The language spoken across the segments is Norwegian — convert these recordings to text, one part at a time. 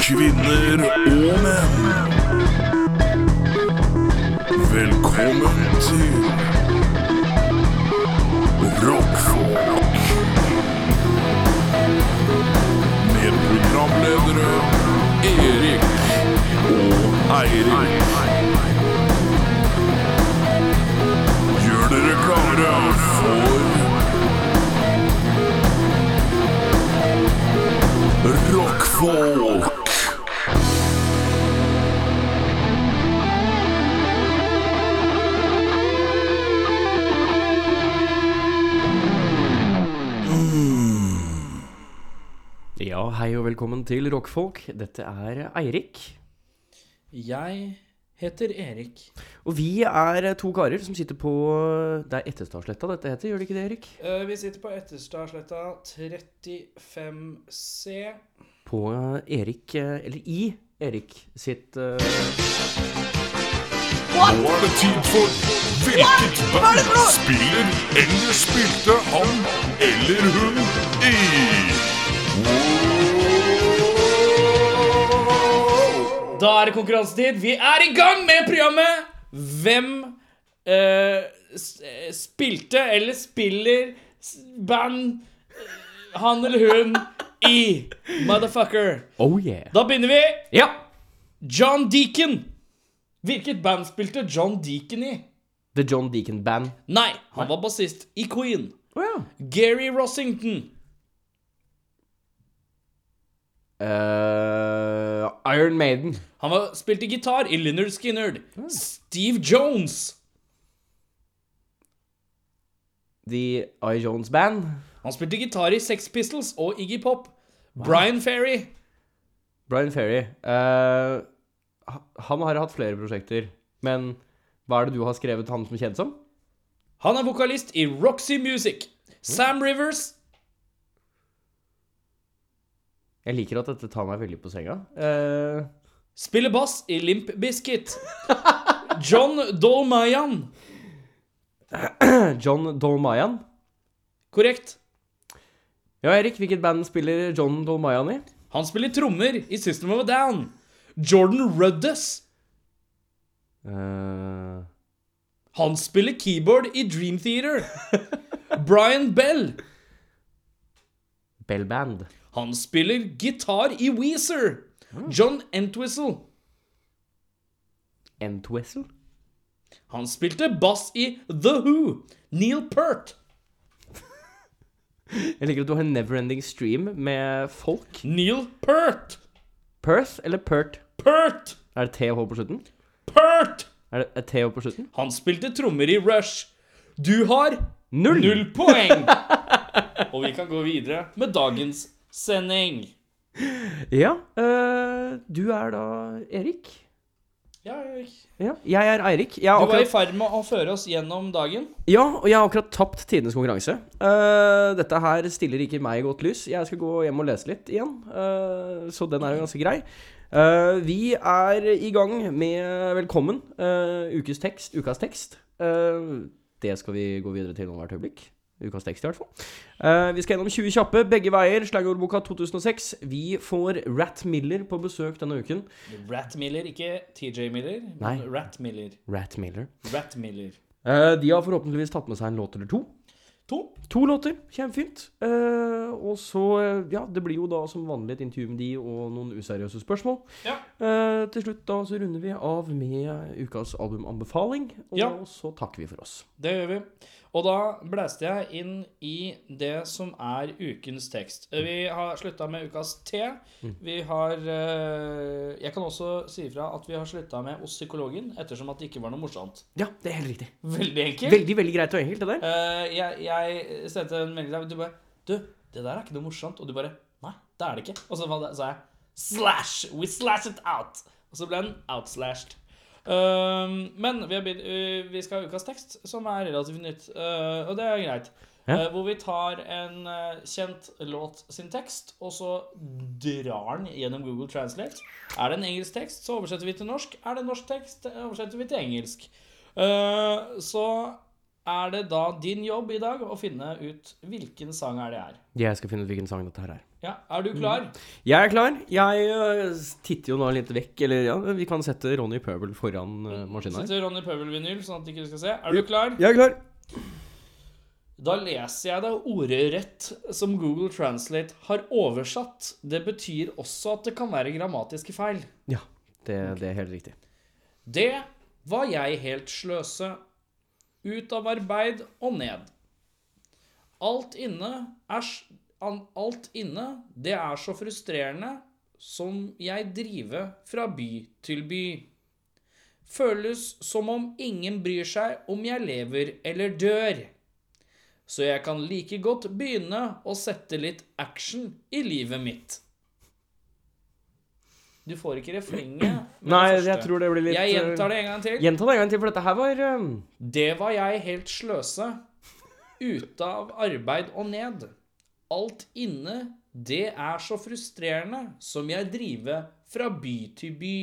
kvinner og menn. Velkommen til Rockfolk. Med programledere Erik og Eirik. Gjør dere klare for Rockfolk. Ja, hei og velkommen til Rockfolk. Dette er Eirik. Jeg heter Erik. Og vi er to karer som sitter på Det er Etterstadsletta dette heter, gjør det ikke det, Erik? Eh, Vi sitter på Etterstadsletta 35C. På Erik, eh, eller i Erik sitt eh, Nå er det tid for Hvilket band spiller eller spilte han eller hun i Da er det konkurransetid. Vi er i gang med programmet Hvem eh, s- eh, spilte eller spiller s- band eh, han eller hun i Motherfucker. Oh yeah. Da begynner vi. Ja! John Deacon. Hvilket band spilte John Deacon i? The John Deacon Band. Nei, han var bassist i Queen. Å ja. Gary Rossington. Eh, Iron Maiden. Han var, spilte gitar i Lynyrd Skynyrd. Steve Jones. The I Jones Band. Han spilte gitar i Sex Pistols og Iggy Pop. Brian Ferry. Brian Ferry. Eh, ha- han har hatt flere prosjekter, men hva er det du har skrevet han som kjent som? Han er vokalist i Roxy Music. Sam Rivers. Jeg liker at dette tar meg veldig på senga. Eh, Spiller bass i Limp Biscuit. John Dolmayan. John Dolmayan. Korrekt. Ja, Erik, hvilket band spiller John Dolmayan i? Han spiller trommer i System of a Down. Jordan Ruddes. Eh, Han spiller keyboard i Dream Theater. Brian Bell. Bell Band. Han spiller gitar i Weezer. John Entwistle. Entwessel? Han spilte bass i The Who. Neil Peart. Jeg liker at du har en neverending stream med folk. Neil Peart. Perth eller Pert? Peart. Er det TH på slutten? Peart. Er det et TH på slutten? Han spilte trommer i Rush. Du har Null! null poeng. Og vi kan gå videre med dagens sending. Ja. eh, du er da Erik? Ja, Erik. Ja. Jeg er Eirik. Jeg har Du var i akkurat, ferd med å føre oss gjennom dagen. ja, og jeg har akkurat tapt tidenes konkurranse. Eh, dette her stiller ikke meg i godt lys. Jeg skal gå hjem og lese litt igjen, eh, så den er jo ganske grei. Eh, vi er i gang med Velkommen. eh, ukes tekst, ukas tekst. Eh, det skal vi gå videre til om hvert øyeblikk. Ukas tekst, i hvert fall. Eh, vi skal gjennom 20 kjappe, begge veier. Slangordboka 2006. Vi får Rat Miller på besøk denne uken. Rat Miller, ikke TJ Miller. Nei. men Rat Miller. Rat Miller. Rat Miller. Eh, de har forhåpentligvis tatt med seg en låt eller to. To. To låter. Kjempefint. Eh, og så, eh, ja, det blir jo da som vanlig et intervju med de og noen useriøse spørsmål. Ja. Eh, til slutt da så runder vi av med ukas albumanbefaling, og Ja. så takker vi for oss. Det gjør vi. Og da blæste jeg inn i det som er ukens tekst. Eh, Vi har slutta med ukas te. Vi har eh, Jeg kan også si ifra at vi har slutta med hos psykologen, ettersom at det ikke var noe morsomt. Ja, det er helt riktig. Veldig enkelt. Veldig, veldig greit og enkelt, det der. Eh, jeg, jeg sendte en melding til deg, og du bare Du, det der er ikke noe morsomt. Og du bare Nei, det er det ikke. Og så var det- sa jeg Slash! We slash it out! Og så ble den outslashed. Um, men vi, har begynt, uh, vi skal ha ukas tekst, som er relativt nytt. Uh, og det er greit. Ja. Uh, hvor vi tar en uh, kjent låt sin tekst, og så drar den gjennom Google Translate. Er det en engelsk tekst, så eh, oversetter vi til norsk. Er det en norsk tekst, oversetter vi til engelsk. Uh, Eh, så er det da din jobb i dag å finne ut hvilken sang er det er. Jeg skal finne ut hvilken sang dette her er. Ja, Er du klar? Jeg er klar. Jeg øh, titter jo nå litt vekk, eller ja, vi kan sette Ronny Pøbel foran øh, maskinen her. Sitter Ronny Pøbel-vinyl, sånn at ikke du skal se. Er du klar? Jeg er klar. Da leser jeg deg ordrett som Google Translate har oversatt. Det betyr også at det kan være grammatiske feil. Ja, det, det er helt riktig. Det var jeg helt sløse. Ut av arbeid og ned. Alt inne er s- an- Alt inne, det er så frustrerende som jeg driver fra by til by. Føles som om ingen bryr seg om jeg lever eller dør. Så jeg kan like godt begynne å sette litt action i livet mitt. Du får ikke refrenget. med det Nei, jeg første. tror det blir litt Jeg øh, gjentar det en gang til. Gjenta det en gang til, for dette her var øh, Det var jeg helt sløse. Ute av arbeid og ned. Alt inne, det er så frustrerende som jeg driver fra by til by.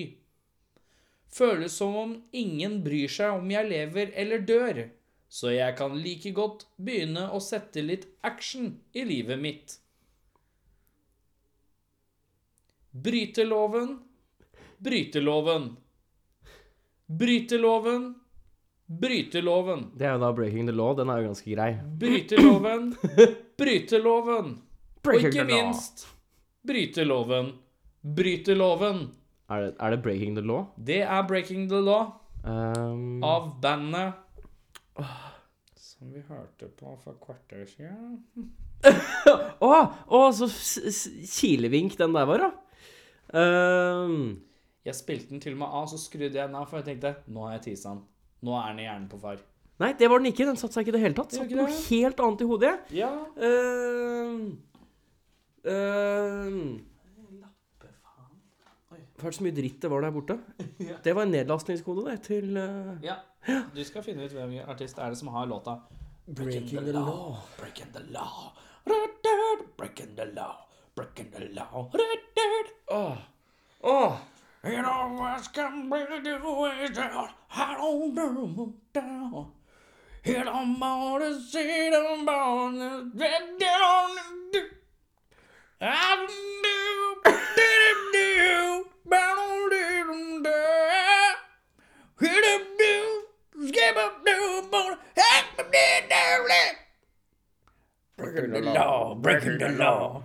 Føles som om ingen bryr seg om jeg lever eller dør, så jeg kan like godt begynne å sette litt action i livet mitt. Bryte loven, bryte loven. Bryte loven, bryte loven. Det er jo da Breaking the Law. Den er jo ganske grei. Bryte loven, bryte loven. Og Breaking ikke the law. minst bryte loven, bryte loven. Er det, er det Breaking the Law? Det er Breaking the Law Um, av bandet Som vi hørte på for kvarter siden. Å, å, så s- s- kilevink den der var, da. Ehm, Jeg spilte den til og med av, så skrudde jeg den av, for jeg tenkte nå har jeg tisa den. Nå er den i hjernen på far. nei, det var den ikke. Den satte seg ikke i det hele tatt. Det gjorde Satt ikke noe det. helt annet i hodet. Ja. Ehm, ehm. Hva er det så mye dritt det var der borte? Det var en nedlastningskode, det, til eh, ja. Du skal finne ut hvem artist er det som har låta. Breaking the Law. Breaking the law. Rutted, breaking the law. Breaking the law. Rutted. Åh, åh. It always can be the way that I don't know down. It I'm on the seat I'm on the bed down. I do did do but I didn't do Hit up do skip up do but I did do Breaking the law, breaking the law.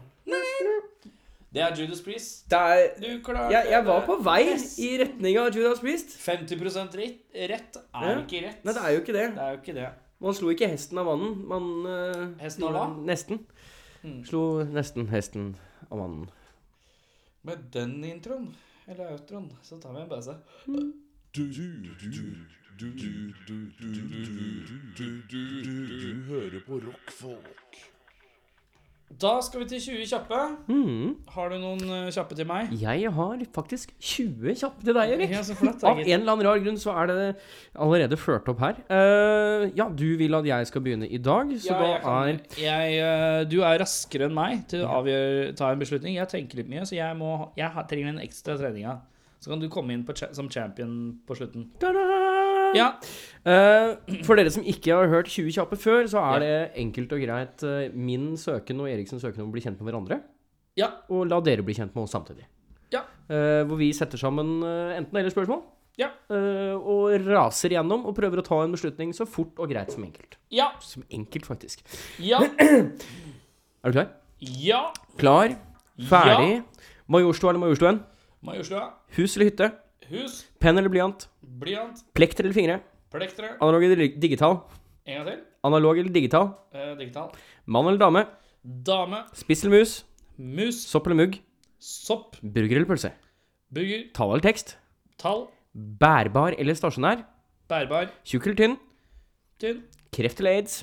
Det er Judas Priest. Det er Du klarte jeg, jeg var det. på vei Yes. i retning av Judas Priest. 50 rett, rett er Ja. ikke rett. Nei, det er jo ikke det. Det er jo ikke det. Man slo ikke hesten av mannen. Man eh, Hesten av hva? Hmm. Nesten. Slo nesten hesten av mannen. Med den introen, eller outroen, så tar vi en pause. Du, du, du, du, du, du, du, du, du, du, du hører på rockfolk. Da skal vi til 20 kjappe. Mhm. Har du noen eh, kjappe til meg? Jeg har faktisk 20 kjappe til deg, Erik. Ja, så flott, Av en Egil. eller annen rar grunn så er det allerede ført opp her. Eh, ja, du vil at jeg skal begynne i dag, så Ja, jeg da kan- er jeg, eh, Du er raskere enn meg til å avgjøre, ta en beslutning. Jeg tenker litt mye, så jeg, må, jeg har- trenger en ekstra trening. ja. Så kan du komme inn på, cha- som champion på slutten. Ta-da! Ja, Eh, for dere som ikke har hørt 20 kjappe før, så er det enkelt og greit eh, min søken og Eriksens søken om å bli kjent med hverandre. ja, Og la dere bli kjent med oss samtidig. ja. Eh, hvor vi setter sammen eh, enten eller spørsmål. Ja. eh, og raser gjennom og prøver å ta en beslutning så fort og greit som enkelt. Ja. Som enkelt, faktisk. Ja. Er du klar? ja. Klar, ferdig. Majorstua eller Majorstuen? Majorstua. Hus eller hytte? Hus. Penn eller blyant? Blyant. Plekter eller fingre? Plektere. Analog eller dig- digital? En gang til. Analog eller digital? Eh, digital. Mann eller dame? Dame. Spiss eller mus? Mus. Sopp eller mugg? Sopp. Burger eller pølse? Burger. Tale eller tekst? Tall. Bærbar eller stasjonær? Bærbar. Tjukk eller tynn? Tynn. Kreft eller aids?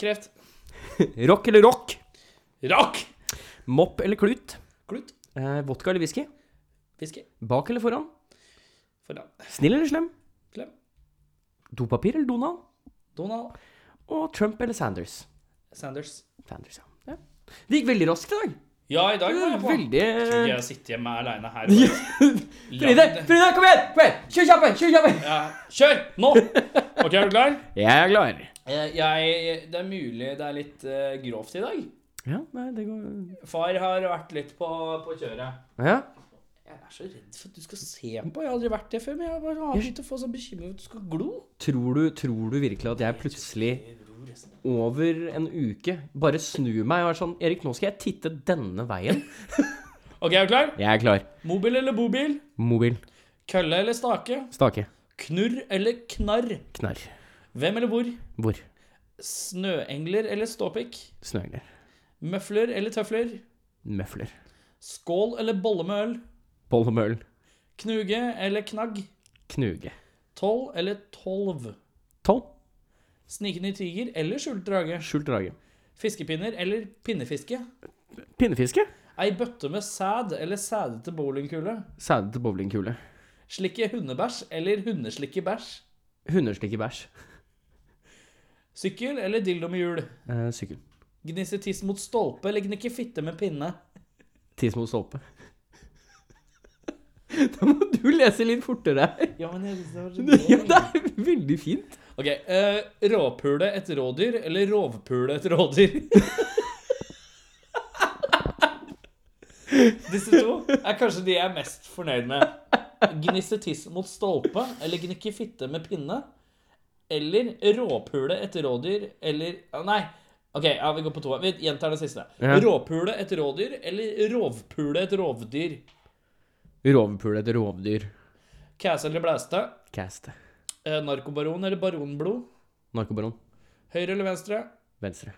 Kreft. Rock eller rock? Rak. Mopp eller klut? Klut. Eh, vodka eller whisky? Fiske. Bak eller foran? Foran. Snill eller slem? Klem. Dopapir eller Donald? Donald. Og Trump eller Sanders? Sanders. Sanders, ja. ja. Det gikk veldig raskt i dag. Ja, i dag var jeg på. Veldig eh, Tror ikke jeg sitter hjemme aleine her. og- Fride, Fride, kom igjen! Kom igjen! Kjør kjappe! Kjør kjappe! Ja, kjør! Nå! Ok, er du klar? Jeg er klar. Eh, Jeg, det er mulig det er litt eh, grovt i dag. Ja, nei, det går Far har vært litt på, på kjøret. Ja. Jeg er så redd for at du skal se på. Jeg har aldri vært det før. Men jeg har bare har begynt å få sånn bekymring for at du skal glo. Tror du, tror du virkelig at jeg plutselig over en uke bare snur meg og er sånn Erik, nå skal jeg titte denne veien. Ok, er du klar? Jeg er klar. Mobil eller bobil? Mobil. Kølle eller stake? Stake. Knurr eller knarr? Knarr. Hvem eller hvor? Hvor? Snøengler eller ståpikk? Snøengler. Møfler eller tøfler? Møfler. Skål eller bolle med øl? Boll og møll. Knuge eller knagg? Knuge. Tolv eller tolv? Tolv. Snikende tiger eller skjult drage? Skjult drage. Fiskepinner eller pinnefiske? Pinnefiske. Ei bøtte med sæd eller sædete bowlingkule? Sædete bowlingkule. Slikke hundebæsj eller hundeslikke bæsj? Hundeslikke bæsj. Sykkel eller dildo med hjul? Eh, sykkel. Gnisse tiss mot stolpe eller gnikke fitte med pinne? Tiss mot stolpe. Da må du lese litt fortere her. Ja, men jeg synes det var så Ja, gøy. det er veldig fint. Ok, eh, råpule et rådyr eller rovpule et rådyr? Disse to er kanskje de jeg er mest fornøyd med. Gnisse tiss mot stolpe eller gnikke fitte med pinne. Eller råpule et rådyr eller ah, Nei. Ok, ja, vi går på to. Vi gjentar det siste. Ja. Råpule et rådyr eller rovpule et rovdyr. Rovpule et rovdyr. Cass eller blæste. Cast. Eh, narkobaron eller baronblod. Narkobaron. Høyre eller venstre. Venstre.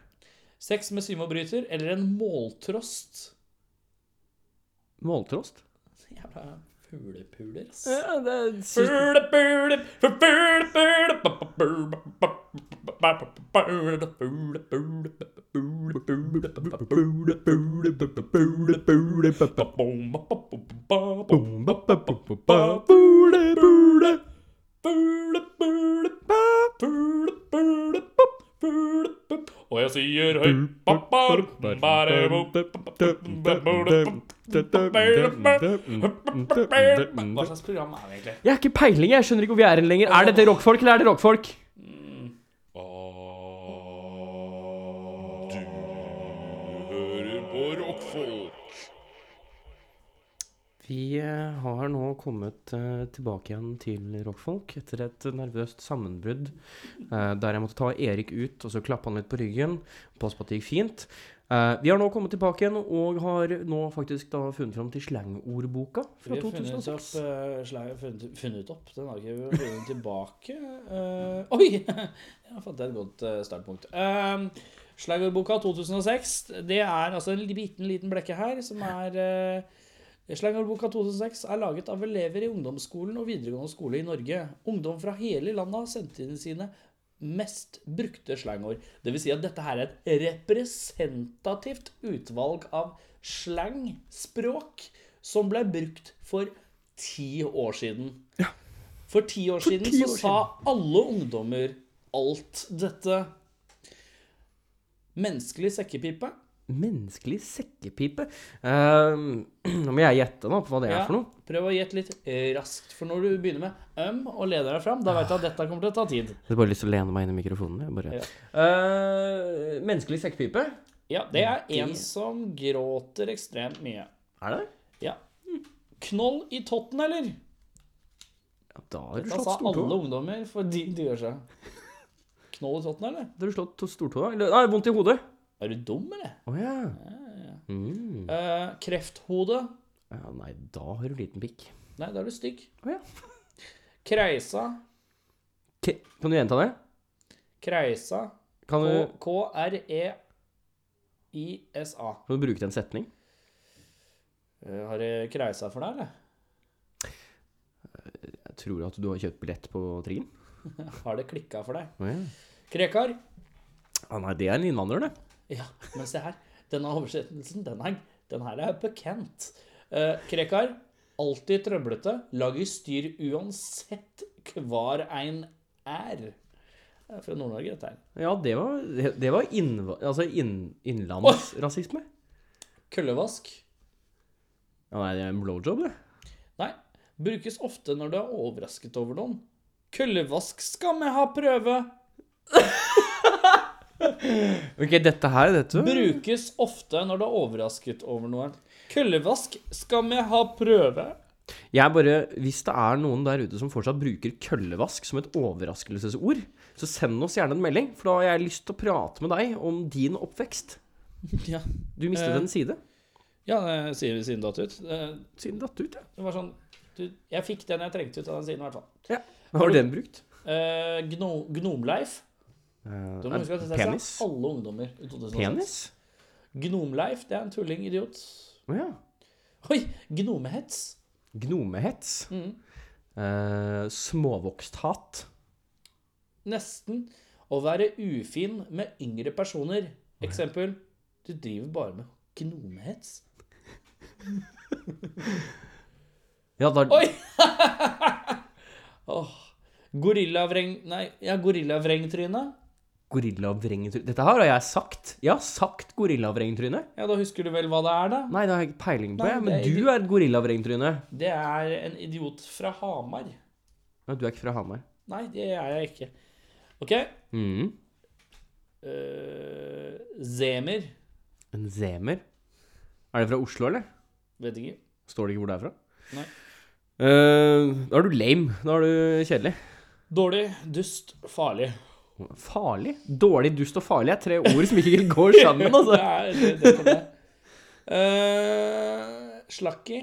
Sex med symobryter eller en måltrost? Måltrost. Jævla fuglepuler, ass. Ja, det er sy- Fuglepule, fuglepule, ba, ba, bu, ba, ba, ba, ba, ba, ba, fuglepule, ba, ba, fuglepule, ba, ba, fuglepule, ba, ba, fuglepule, ba, ba, bom, ba, ba, bom, ba, bom, ba, ba, bom, ba, ba, fuglepule, fuglepule, ba, fuglepule, ba, fuglepule. Og jeg sier høy ba, ba, ba, ba, ba, ba, ba, ba, ba, hva slags program er vi egentlig? Jeg har ikke peiling. jeg skjønner ikke hvor vi er hen lenger. Er dette rockfolk, eller er det rockfolk? Mm. Du hører på rockfolk. Vi eh, har nå kommet eh, tilbake igjen til rockfolk etter et nervøst sammenbrudd eh, der jeg måtte ta Erik ut, og så klappe han litt på ryggen. Passe på at det gikk fint. Eh, vi har nå kommet tilbake igjen, og har nå faktisk da funnet fram til slangordboka Vi fra har funnet opp, 2006. eh, slag- funnet, funnet opp den har ikke vi har funnet tilbake. eh, oi! Jeg fant et godt eh, startpunkt. Um, Slagordboka 2006, det er altså en liten, liten blekke her, som er uh, Slagordboka 2006 er laget av elever i ungdomsskolen og videregående skole i Norge. Ungdom fra hele landet har sendt inn sine mest brukte slangord. Det vil si at dette her er et representativt utvalg av slangspråk som ble brukt for ti år siden. For ti år siden ti så år sa alle ungdommer alt dette. Menneskelig sekkepipe. Menneskelig sekkepipe. Eh, nå må jeg gjette nå på hva det er Ja, for noe. prøv å gjette litt raskt, for når du begynner med øm og leder deg fram, da veit du at dette kommer til å ta tid. Jeg har bare lyst til å lene meg inn i mikrofonen. Jeg bare... Ja. Eh, menneskelig sekkepipe? Ja, det er en som gråter ekstremt mye. Er det? Ja. Knoll i totten, eller? Ja, da har du Da slått sa alle stortå. ungdommer for de de gjør seg. Knoll i totten, eller? Da har du slått stortå. Eller, nei, vondt i hodet. Er du dum, eller? Å ja. Mm. Eh, krefthode. ja. Nei, da har du liten pikk. Nei, da er du stygg. Å ja. Kreisa. K kan du gjenta det? Kreisa. Kan du, K- E K-r-e-i-s-a. kan du bruke det i en setning? Eh, Har du kreisa for deg, eller? Jeg tror at du har kjøpt billett på Trigen. Har det klikka for deg? Å ja. Krekar? Ah, nei, det er en innvandrer, det. Ja, men se her. Denne oversettelsen, den her, den her er bekjent. Eh, Krekar, alltid trøblete, lager styr uansett hvar ein er. Det er fra Nord-Norge, dette her. Ja, det var, det var innva altså inn, innlandsrasisme. Køllevask? Ja, nei, det er en blowjob, det. Nei. Brukes ofte når du er overrasket over noen. Køllevask skal vi ha prøve. Ok, dette her, vet du Brukes ofte når du er overrasket over noe. Køllevask skal vi ha prøve. Jeg bare, Hvis det er noen der ute som fortsatt bruker køllevask som et overraskelsesord, så send oss gjerne en melding, for da har jeg lyst til å prate med deg om din oppvekst. Ja, Du mistet Eh. en side. ja det sier vi siden datt ut. Eh, Siden datt ut, ja. Det var sånn du, Jeg fikk den jeg trengte ut av den siden, i hvert fall. ja. Har den brukt? Eh, Gno, Gnomleif. Du må Eh, huske at dette er penis? fra alle ungdommer i 2006. Penis? Gnomleif, det er en tulling idiot. Å ja. Oi! Gnomehets. Gnomehets. Mm. Eh, småvoksthat. Nesten. Å være ufin med yngre personer. Eksempel. Du driver bare med gnomehets. Ja, da, Oi! Åh. Gorillavreng... Nei, ja, gorillavrengtryne. Gorillavrengetryne Dette her har jeg sagt. Jeg har sagt gorillavrengetryne. Ja, da husker du vel hva det er, da? Nei, det har jeg ikke peiling på, Nei, jeg, det men er du er gorillavrengetryne. Det er en idiot fra Hamar. Ja, du er ikke fra Hamar. Nei, det er jeg ikke. OK. Mm. Eh, Zemer. En zemer. Er det fra Oslo, eller? Vet ikke. Står det ikke hvor det er fra? Nei. Eh, da er du lame. Da er du kjedelig. Dårlig, dust, farlig. Farlig? Dårlig, dust og farlig er tre ord som ikke går sammen, altså. Det er det, det for meg. Eh, slakki.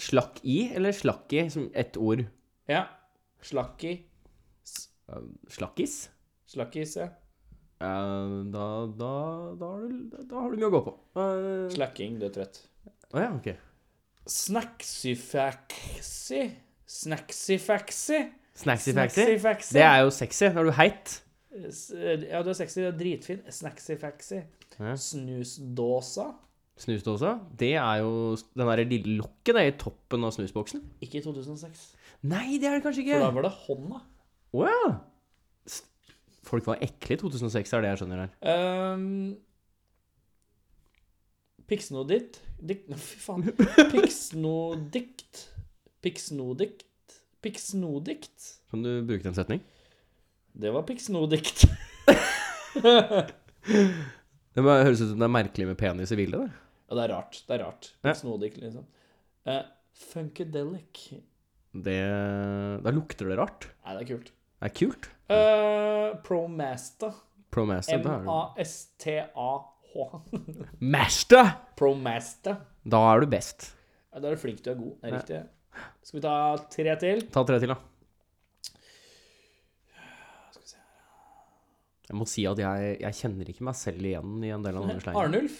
Slakk i eller slakk i som ett ord? Ja. Slakki. Slakkis? Slakkis, ja. Eh, da, da, da, har du, da har du mye å gå på. Eh, Slakking, du er trøtt. Å ja, ok. Snacksyfaxi. Snacksyfaxi. Snacksy-faxy. Det er jo sexy. Da er du heit. eh, Ja, du er sexy. Du er dritfin. Snacksyfaxi. Ja. Snusdåsa. Snusdåsa. Det er jo den derre lille lokket det, i toppen av snusboksen. Ikke i 2006. Nei, det er det kanskje For da ikke. var det hånda. Å ja. S- Folk var ekle i 2006, er det jeg skjønner her. Um, Piksnodikt Dikt Fy faen. Piksnodikt. Piksnodikt. Piksnodikt. Kan du bruke den setning? Det var piksnodikt. ja, Det bare høres ut som det er merkelig med penis i bildet. Det. det er rart. Det er rart. Ja. Piksnodikt, liksom. Eh, funkadelic. Det, da lukter det rart. Nei, det er kult. Det er kult. Eh, Promasta. Promaster. Da er M-a-s-t-a-h. du Master! Promasta. Da er du best. Ja, da er du flink, du er god. Det er riktig. Skal vi ta tre til? Ta tre til, da. Jeg må si at jeg, jeg kjenner ikke meg selv igjen i en del av denne slengen. Arnulf.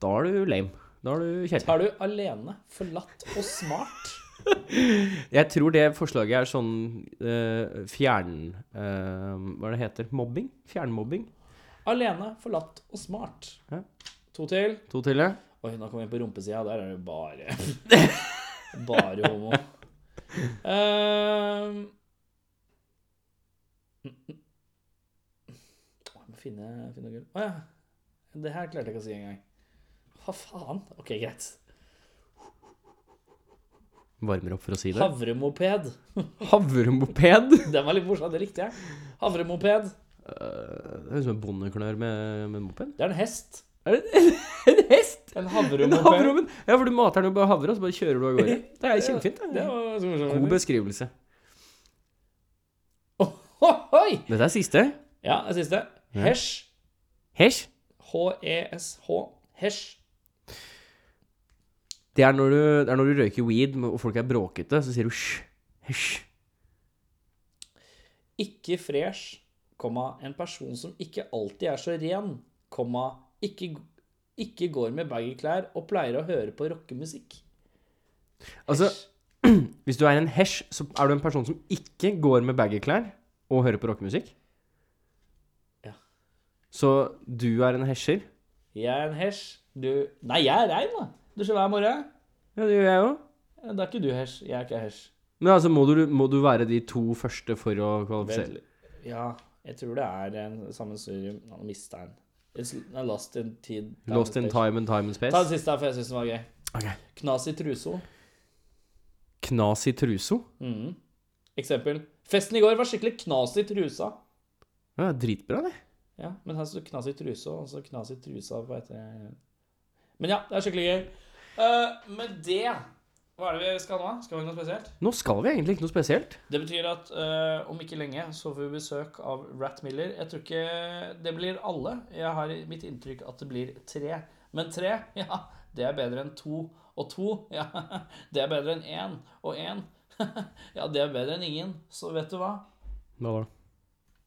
Da er du lame. Da er du kjedelig. Er du alene, forlatt og smart? Jeg tror det forslaget er sånn eh, fjern... eh, hva er det heter? Mobbing? Fjernmobbing? Alene, forlatt og smart. Ja. To til. To til, ja. Oi, nå kom vi inn på rumpesida. Der er det bare Bare homo. Um... Å, Jeg må finne, finne gull. Å ja. Det her klarte jeg ikke å si engang. Hva faen? OK, greit. Varmer opp for å si det. Havremoped. Havremoped. Den var litt morsom. Det likte jeg. Havremoped. Eh, Det høres ut som en bondeklør med, med moped. Det er en hest. Er det en, en hest? En En havremoped. havremoppen? Ja, for du mater den jo bare havre, og så bare kjører du av gårde. Det er kjempefint. Det Det. var så morsomt. God beskrivelse. Ohoi! Dette er siste. Ja, det siste. Hesh. Hesj. H-e-s-h. Hesh. Det er når du, det er når du røyker weed og folk er bråkete, så sier du hysj. Hysj. Ikke fresh, komma, en person som ikke alltid er så ren, komma, ikke, ikke går med bag i klær og pleier å høre på rockemusikk. Altså, hvis du er en hesj, så er du en person som ikke går med baggy-klær og hører på rockemusikk. Ja. Så du er en hesjer. Jeg er en hesh. Du Nei, jeg er rein, da. Dusjer hver morgen. Ja, det gjør jeg òg. Da er ikke du hesh. Jeg er ikke hesh. Men altså, må du, må du være de to første for å kvalifisere? Vel, ja, jeg tror det er en sammensurium. Nå mista jeg den. It's Lost in tid. Lost in time and time and Ta den space? siste, her, for jeg syns den var gøy. Ok. Knas i truso. Knas i truso? Eksempel. Festen i går var skikkelig knas i trusa. Ja, dritbra, det. Ja, men her står knas i trusa, og så knas i trusa på etter... Men ja, det er skikkelig gøy. Eh, med det, hva er det vi skal nå? Skal vi ha noe spesielt? Nå skal vi egentlig ikke noe spesielt. Det betyr at eh, om ikke lenge så får vi besøk av Rat Miller. Jeg tror ikke det blir alle. Jeg har i mitt inntrykk at det blir tre. Men tre, ja, det er bedre enn to. Og to, ja, det er bedre enn én. Og én, ja, det er bedre enn ingen. Så vet du hva? Hva var det?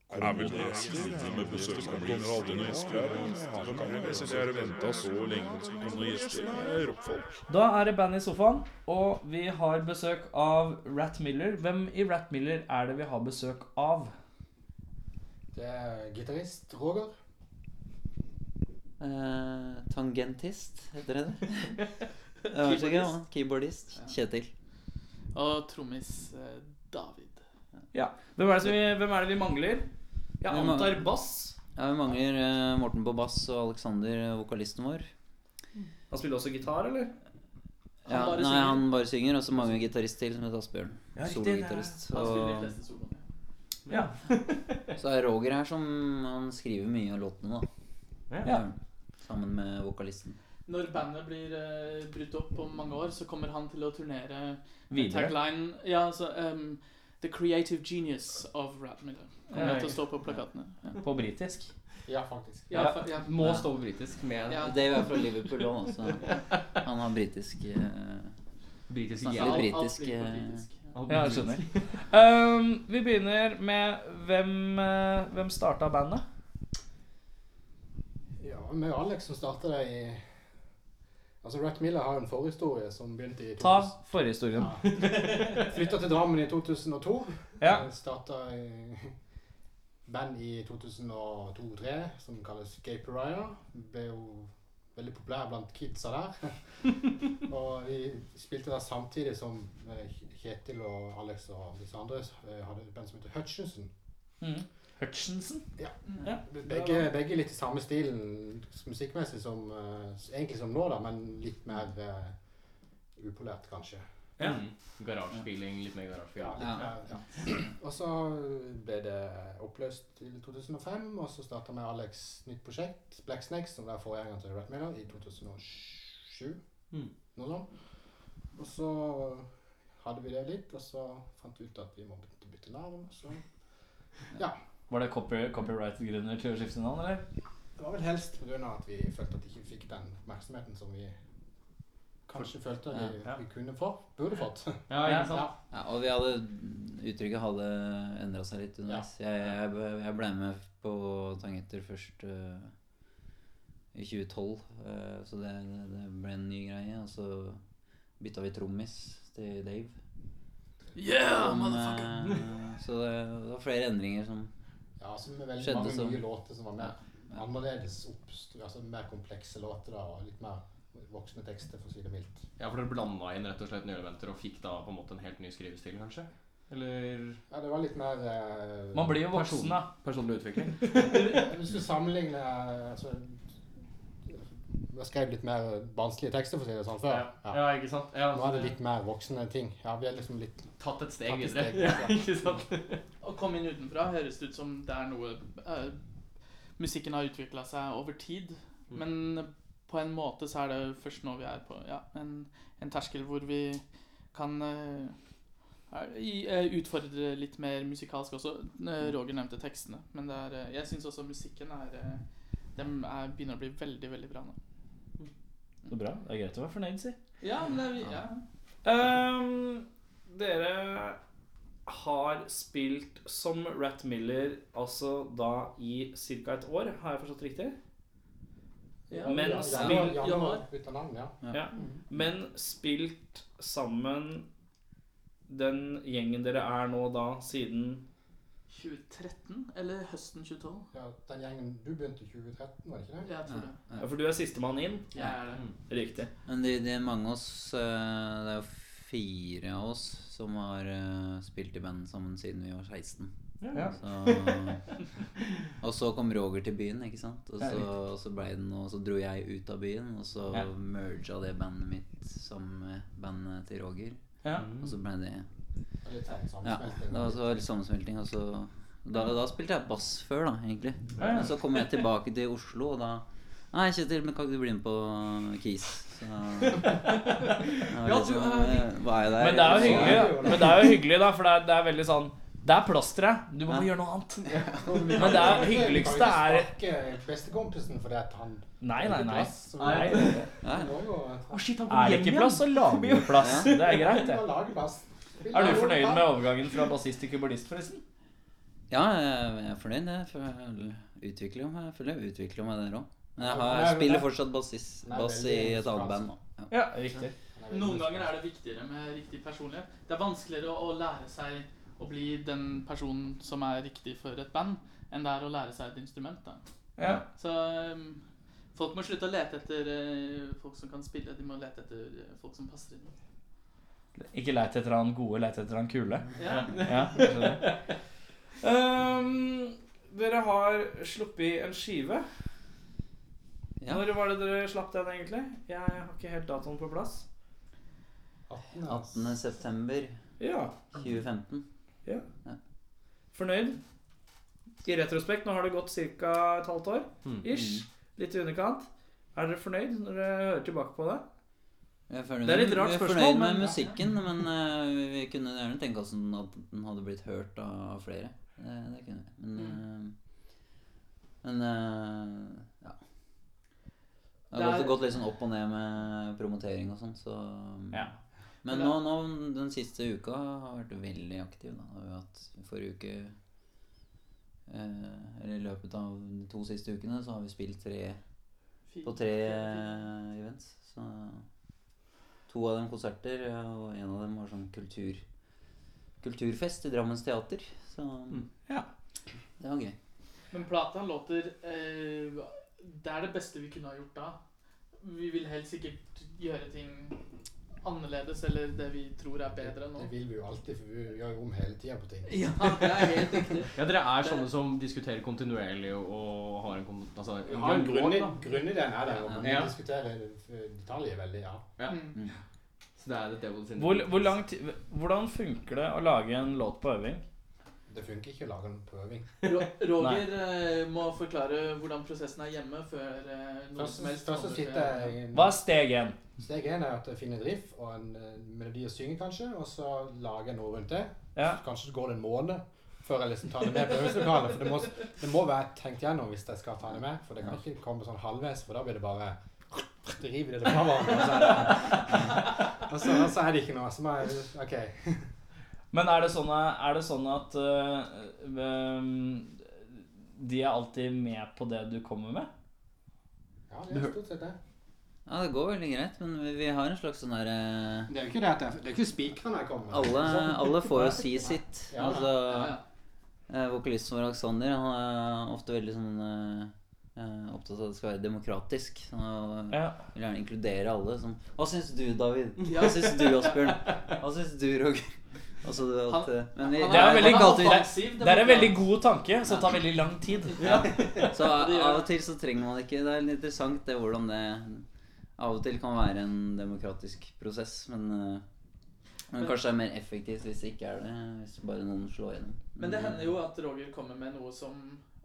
Er vel det stille med besøkskommuner aldri noen gjester her? Hvem er det? Jeg synes jeg har ventet så lenge på noen gjester. Det er rockfolk. Da er det band i sofaen, og vi har besøk av Rat Miller. Hvem i Rat Miller er det vi har besøk av? Det er gitarist Roger. Eh, tangentist, heter det det? Jeg vet ikke, ja. Keyboardist. Kjetil. Og trommis eh, David. Ja. Hvem er det, som vi, hvem er det vi mangler? Jeg Vi mangler- antar bass. Ja, vi mangler eh, Morten på bass og Alexander, eh, vokalisten vår. Han spiller også gitar, eller? Ja, bare nei, synger. han bare synger, og så mangler vi en gitarist til som heter Asbjørn. Ja, riktig, det er- Sologitarist. Han spiller de Og fleste soloene. Ja. så er Roger her som han skriver mye av låtene, da. Ja. Sammen med vokalisten. Når bandet blir eh, brutt opp om mange år, så kommer han til å turnere med Videre. tagline Ja, altså ehm, The creative genius of Rat Miller. Kommer Ja, til å stå på plakatene. Ja. På britisk. Ja, faktisk. Ja, fa- ja. Må stå på britisk med Ja. Dave er fra Liverpool òg, så han har britisk eh, britiske Snakker Alt- alt britisk, blir på eh, britisk, ja. Ja, jeg skjønner. Um, vi begynner med hvem, eh, hvem starta bandet? Ja, med Alex som startet det i Altså, Rat Miller har en forhistorie som begynte i Ta 2000. forhistorien. Flytta til Drammen i 2002. Ja. Starta Eh, i band i 2002-2003 som kalles Gay Pariah. Ble jo veldig populær blant kidsa der. og vi spilte der samtidig som eh, Kjetil og Alex og disse andre eh, hadde et band som heter Hutchinson. Mm. Hutchinson. Begge, begge litt i samme stilen musikkmessig som eh, s- Egentlig som nå, da, men litt mer eh, upolert, kanskje. Ja. Mm. Garasjefeeling, litt mer garasjefeeling. Ja. Eh, ja. Og så ble det oppløst til 2005, og så starta med Alex nytt prosjekt, Black Snakes, som var forgjengeren til Rat Miller, i 2007. Mm. Noe sånt. Og så hadde vi det litt, og så fant vi ut at vi måtte bytte navn. og Så Var det copy, copyright-grunner til å skifte navn, eller? Det var vel helst pga. at vi følte at vi ikke fikk den oppmerksomheten som vi kanskje følte vi, Ja. vi kunne få. Burde fått. Ja, ikke Ja. Ja, og vi hadde Uttrykket hadde endra seg litt underveis. Jeg, jeg, ble- jeg ble med på tangenter først eh, i 2012, eh, så det, det ble en ny greie. Og så bytta vi trommis til Dave. Yeah, Som, motherfucker! eh, så det, det var flere endringer som ja, så med veldig Skjedde mange som- nye låter som var mer ja. annerledes oppst- altså mer komplekse låter da, og litt mer voksne tekster, for å si det mildt. eh, Ja, for dere blanda inn rett og slett nye elementer og fikk da på en måte en helt ny skrivestil, kanskje? Eller Ja, det var litt mer eh, Man blir jo voksen, da. personlig utvikling? Hvis du sammenligner altså, Jeg skrev litt mer barnslige tekster, for å si det sånn, før. Ja. ja, ikke sant? Ja, Nå er det litt mer voksne ting. Ja, vi er liksom litt Tatt et steg tatt i videre. steg. Ja. Ikke sant? Å komme inn utenfra høres ut som det er noe eh, Musikken har utvikla seg over tid. Mm. Men på en måte så er det først nå vi er på ja, en, en terskel hvor vi kan eh, er- i- eh, utfordre litt mer musikalsk også. Mm. Eh, Roger nevnte tekstene, men det er, eh, jeg syns også musikken er eh, Den er, begynner å bli veldig, veldig bra nå. Så bra. Det er greit å være fornøyd, si. Ja, men det er, vi- ja. Um, dere har spilt som Rat Miller altså da i ca. et år, har jeg forstått riktig? Ja, Men Ja, spill- Jan- Jan- bytter navn, ja. Ja. Men spilt sammen den gjengen dere er nå da, siden 2013? Eller høsten 2012? Ja, den gjengen du begynte i 2013, var det ikke det? Jeg tror det. Ja, for du er sistemann inn. Jeg er det. Riktig. Men det, det er mange av oss eh, Det er jo fire av oss som har eh, spilt i band sammen siden vi var 16. Ja. Så, og så kom Roger til byen, ikke sant? Og Ja, så, og så, ble den, og så dro jeg ut av byen, og så Ja. merga det eh, bandet mitt sammen med bandet til Roger. Ja. Og så ble det Det er Litt sånn Ja, sammensmelting. det var altså- så litt sammensmelting. Og så, da, da spilte jeg bass før, da, egentlig. Ja, ja. Men så kom jeg tilbake til Oslo, og da Nei, Kjetil, men kan ikke du bli med på Kis? Så, jeg var Ja, litt du sånn, er- eh, Var jeg der? Men det er jo Så- hyggelig, da. Men det er jo hyggelig da for det er, det er veldig sånn Det er plass til deg. Du må bare Ja. gjøre noe annet. Men det er- hyggeligste er- bestekompisen fordi at han Nei, nei, nei. Nei. nei. Ja. må jo Er det ikke plass, så lager vi jo plass. Ja. Det er greit, det. må lage plass. Vi Er du lager fornøyd plass. med overgangen fra bassist til keyboardist, forresten? Ja, jeg jeg er fornøyd. Jeg føler utvikler meg, jeg føler jeg utvikler meg der òg. Men jeg, har, Nei, jeg men spiller det- fortsatt bassis, Nei, bass veldig i et fransk. annet band. nå. Ja. Ja, riktig. Noen ganger er det viktigere med riktig personlighet. Det er vanskeligere å å lære seg å bli den personen som er riktig for et band, enn det er å lære seg et instrument. Da. Ja. Så um, folk må slutte å lete etter eh, folk som kan spille, de må lete etter eh, folk som passer inn. Ikke leit etter han gode, leit etter han kule. Ja. Ja, jeg skjønner. Ehm, dere har sluppet en skive. Ja. Når var det dere slapp den, egentlig? Jeg har ikke helt datoen på plass. 18. september Ja, 2015. Fornøyd? I retrospekt, nå har det gått ca. et halvt år. Mm. Ish. Litt i underkant. Er dere fornøyd når dere hører tilbake på det? Jeg er fornøyd Det er litt med- rart vi er spørsmål, fornøyd med men- musikken, men eh, vi kunne gjerne tenke oss den at den hadde blitt hørt av flere. Det, det kunne vi. Men, eh, men eh, ja. Det har Det gått, er- gått litt sånn opp og ned med promotering og sånn, så Ja. Men Men det- nå, nå den siste uka har vært veldig aktiv. da. Da har vi hatt forrige uke eh, Eller i løpet av de to siste ukene så har vi spilt tre Fint. på tre eh, events. Så to av dem konserter, ja, og en av dem var sånn kultur, kulturfest i Drammens teater. Så Mm. ja. det var gøy. Men plata låter eh, Det er det beste vi kunne ha gjort da. Vi vil helt sikkert gjøre ting annerledes, eller det vi tror er bedre nå. Det vil vi jo alltid, for vi gjør jo om hele tida på ting. Ja, det er helt riktig. Ja, dere er sånne som diskuterer kontinuerlig og har en, kon- altså, Vi en har en grunn i, dialog, da. grunn i den er der, og vi Ja. diskuterer eh, detaljer veldig, ja. Ja. Mm. Så det er The Devil's in the Hvor, Details. hvor lang ti- hvordan funker det å lage en låt på øving? Det funker ikke å lage en prøving. Ro- Roger eh, må forklare hvordan prosessen er hjemme før eh, noe Først som helst. først så andre- sitter jeg Hva er steg én? Steg én er at jeg finner et riff og en eh, melodi å synge, kanskje, og så lager jeg noe rundt det. Ja. Kanskje det går en måned før jeg liksom tar det med på øvingslokalet. For det må, det må være tenkt gjennom hvis jeg skal ta det med, for det kan ikke komme sånn halvveis, for da blir det bare det river det fra hverandre. Og så er det, og så, og så er det ikke noe. Så må jeg OK. Men er det sånn, er det sånn at øh, øhm, de er alltid med på det du kommer med? Ja, det er stort sett det. Ja, det går veldig greit, men vi, vi har en slags sånn derre Det er jo ikke det at jeg, det er ikke spikeren jeg kommer alle, alle får jo si sitt. Ja. Altså Ja, ja. Eh, vokalisten vår Alexander han er ofte veldig sånn eh, eh, opptatt av at det skal være demokratisk. Så eh, han Ja. vil gjerne inkludere alle. Som, Hva syns du, David? Ja. Hva syns du, Asbjørn? Hva syns du, Roger? Altså, det, at, Han- eh, men vi, Han Det er veldig han godt. offensiv Det er en veldig demokrat. god tanke, som tar veldig lang tid. Så av det gjør og til så trenger man ikke Det er litt interessant det hvordan det av og til kan være en demokratisk prosess, men eh, men kanskje det er mer effektivt hvis det ikke er det. Hvis bare noen slår gjennom. Men det eh, hender jo at Roger kommer med noe som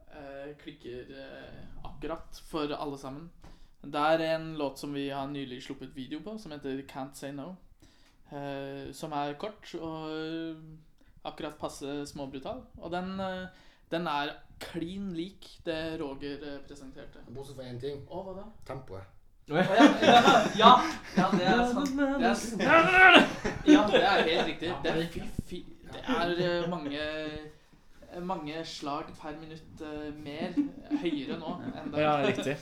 eh, klikker eh, akkurat for alle sammen. Det er en låt som vi har nylig sluppet video på, som heter Can't Say No. Eh, som er kort og eh, akkurat passe småbrutal. Og den, eh, den er klin lik det Roger eh, presenterte. Bortsett fra én ting. Å, hva da? Tempoet. Å, ja, ja, ja, ja, det er sant. Det er, s- ja, det er helt riktig. Det er, fy, fy, det er eh, mange eh, mange slag per minutt eh, mer høyere nå enn det Ja, riktig.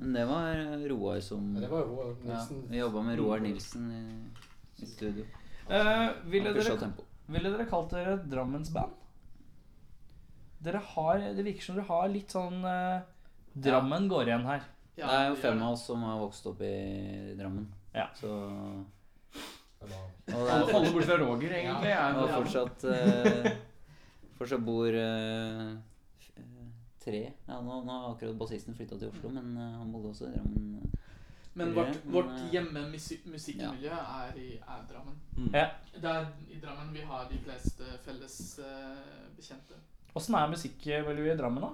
Men det var eh, Roar som Ja, det var jo Roar Ja, Nilsen. vi jobba med Roar Nilsen i, i studio. Eh, ville, Han pusha dere, tempo. ville dere kalt dere et Drammensband? Dere har, det virker som dere har litt sånn eh, Drammen går igjen her. Ja, det er jo vi fem gjør av oss som har vokst opp i Drammen. Ja. Så og Det var- det Alle er, alle bort fra Roger, egentlig. er- og fortsatt eh, Fortsatt bor eh, f- eh, tre Ja, nå, nå har akkurat bassisten flytta til Oslo, men eh, han bodde også i Drammen. Men Ja, vårt, men, vårt eh, Mm. hjemmemiljø er i er Drammen. Ja. Det er i Drammen vi har de fleste felles eh, bekjente. Åssen er musikkmiljøet i Drammen, da?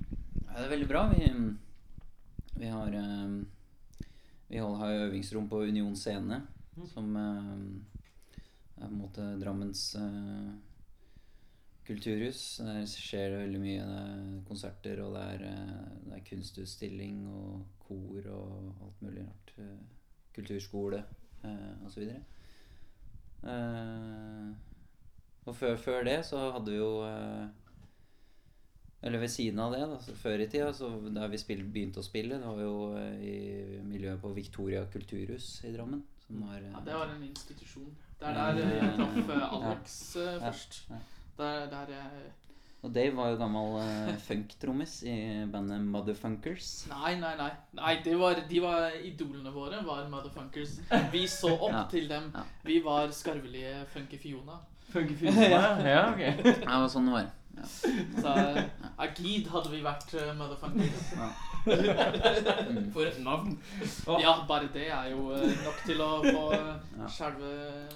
Ja, det er veldig bra. Vi, vi har eh, Vi hold- har jo øvingsrom på Union Scene, Mm. som eh, er på en måte Drammens eh, kulturhus. Der skjer det veldig mye. Det er konserter, og det er, eh, det er kunstutstilling og kor og alt mulig rart. eh, Kulturskole eh, og så videre. Eh, Og før, før det så hadde vi jo eh, eller ved siden av det, da, så før i tida, så da vi spill, begynte å spille, det var jo eh, i miljøet på Victoria kulturhus i Drammen. Som var, eh, Mm. Ja, det var en institusjon. Det er der jeg traff eh, Alex eh, først. ja. Der, der eh, jeg Og Dave var jo gammel eh, funktrommis i bandet Motherfunkers. Nei, nei, nei. nei det var, de var idolene våre, var motherfuckers. Vi så opp Ja. til dem. Ja. Vi var skarvelige funky Fiona. ja, ok. Ja, det var sånn det var. Så eh, Agid hadde vi vært eh, motherfuckers. Mm. For et navn. Ja, bare det er jo eh, nok til å få Ja. skjelve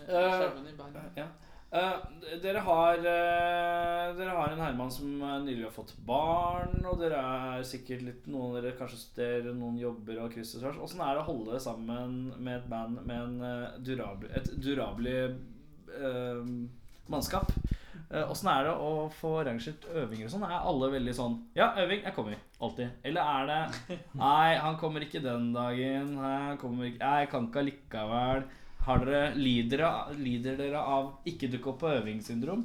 Eh, skjelven i beina. Ja. Eh, d- dere, har, eh, dere har en Herman som eh, nylig har fått barn, og dere er sikkert litt noen av dere kanskje studerer, noen jobber og kryss og tvers. Åssen er det å holde sammen med et band med en, eh, durabel, et durabelig eh, mannskap? Eh, Åssen er det å få arrangert øvinger og sånn? Er alle veldig sånn Ja, øving. Jeg kommer. Alltid. Eller er det Nei, han kommer ikke den dagen. Nei, han kommer ikke Nei, jeg kan ikke allikevel. Har dere, lider, dere- lider dere av ikke dukke opp på øvingssyndrom?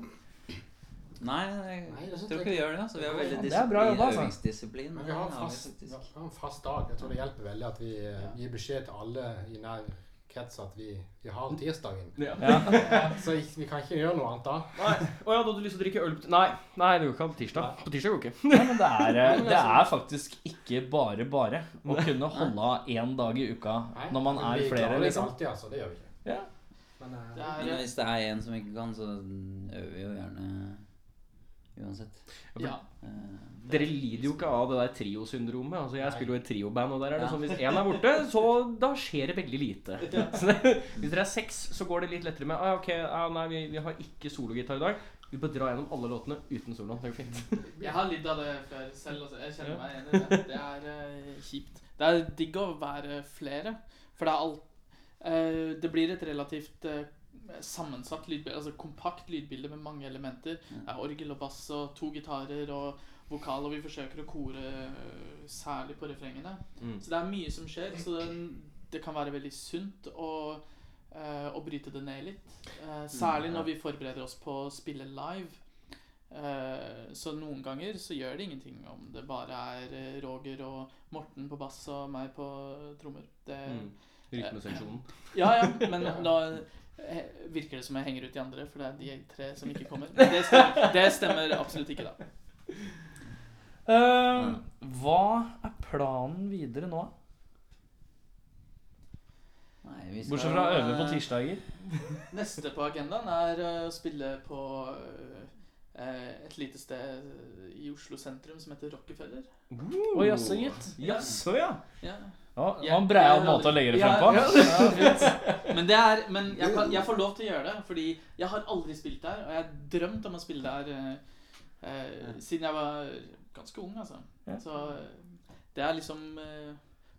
Nei, jeg Nei, det synes tror ikke vi gjør det. Altså. Vi har veldig Det er bra disiplin, jobba, altså. øvingsdisiplin. Men vi har en Det har vi fast, vi faktisk. har en fast dag. Jeg tror det hjelper veldig at vi eh, gir beskjed til alle i nær krets at vi, vi har tirsdagen. Så ik- vi kan ikke gjøre noe annet da. Nei. Å ja, da hadde du lyst til å drikke øl Nei, nei det går ikke på tirsdag. På tirsdag går det ikke. Nei, men det er, eh, det er faktisk ikke bare bare å kunne holde av én dag i uka Nei, når man men er vi klarer flere, det ikke liksom. alltid, altså. Det gjør vi ikke. Ja. Men eh, Det Men er, hvis det er en som ikke kan, så øver vi jo gjerne uansett. ja. Eh, Dere lider jo ikke av det der triosyndromet. Altså, jeg Nei. spiller jo i et trioband, og der er det Ja. sånn hvis én er borte, så da skjer det veldig lite. Så det, hvis dere er seks, så går det litt lettere med ah, Ok, ah, nei, vi, vi har ikke sologitar i dag. Vi bare drar gjennom alle låtene uten soloen. Det går fint. Jeg har lidd av det før selv. Altså. Jeg kjenner meg enig i det. Det er eh, kjipt. Det er digg å være flere, for det er alt eh, Det blir et relativt eh, sammensatt lydbilde, altså kompakt lydbilde med mange elementer. Det er orgel og bass og to gitarer og vokal, og vi forsøker å kore eh, særlig på refrengene. Mm. Så det er mye som skjer, så det, det kan være veldig sunt å eh, å bryte det ned litt. Eh, særlig når vi forbereder oss på å spille live. Eh, så noen ganger så gjør det ingenting om det bare er eh, Roger og Morten på bass og meg på trommer. Det, Mm. Rytmeseksjonen. Ja, ja, men da eh, virker det som jeg henger ut de andre, for det er de tre som ikke kommer. Men Det stemmer, det stemmer absolutt ikke, da. liksom. Eh, hva er planen videre nå? Nei, vi skal, Bortsett fra å øve på eh, tirsdager. Neste på agendaen er eh, å spille på eh, et lite sted i Oslo sentrum som heter Rockefeller. Å, jaså, gitt. Jaså, ja. Ja. Ja, Det Jeg- var en breial jeg- måte å legge det frem Ja, på. ja, ja, fint. men det er, men jeg, kan, jeg får lov til å gjøre det, fordi jeg har aldri spilt der. Og jeg har drømt om å spille der eh, eh, siden jeg var ganske ung, altså. Ja. Så eh, det er liksom eh,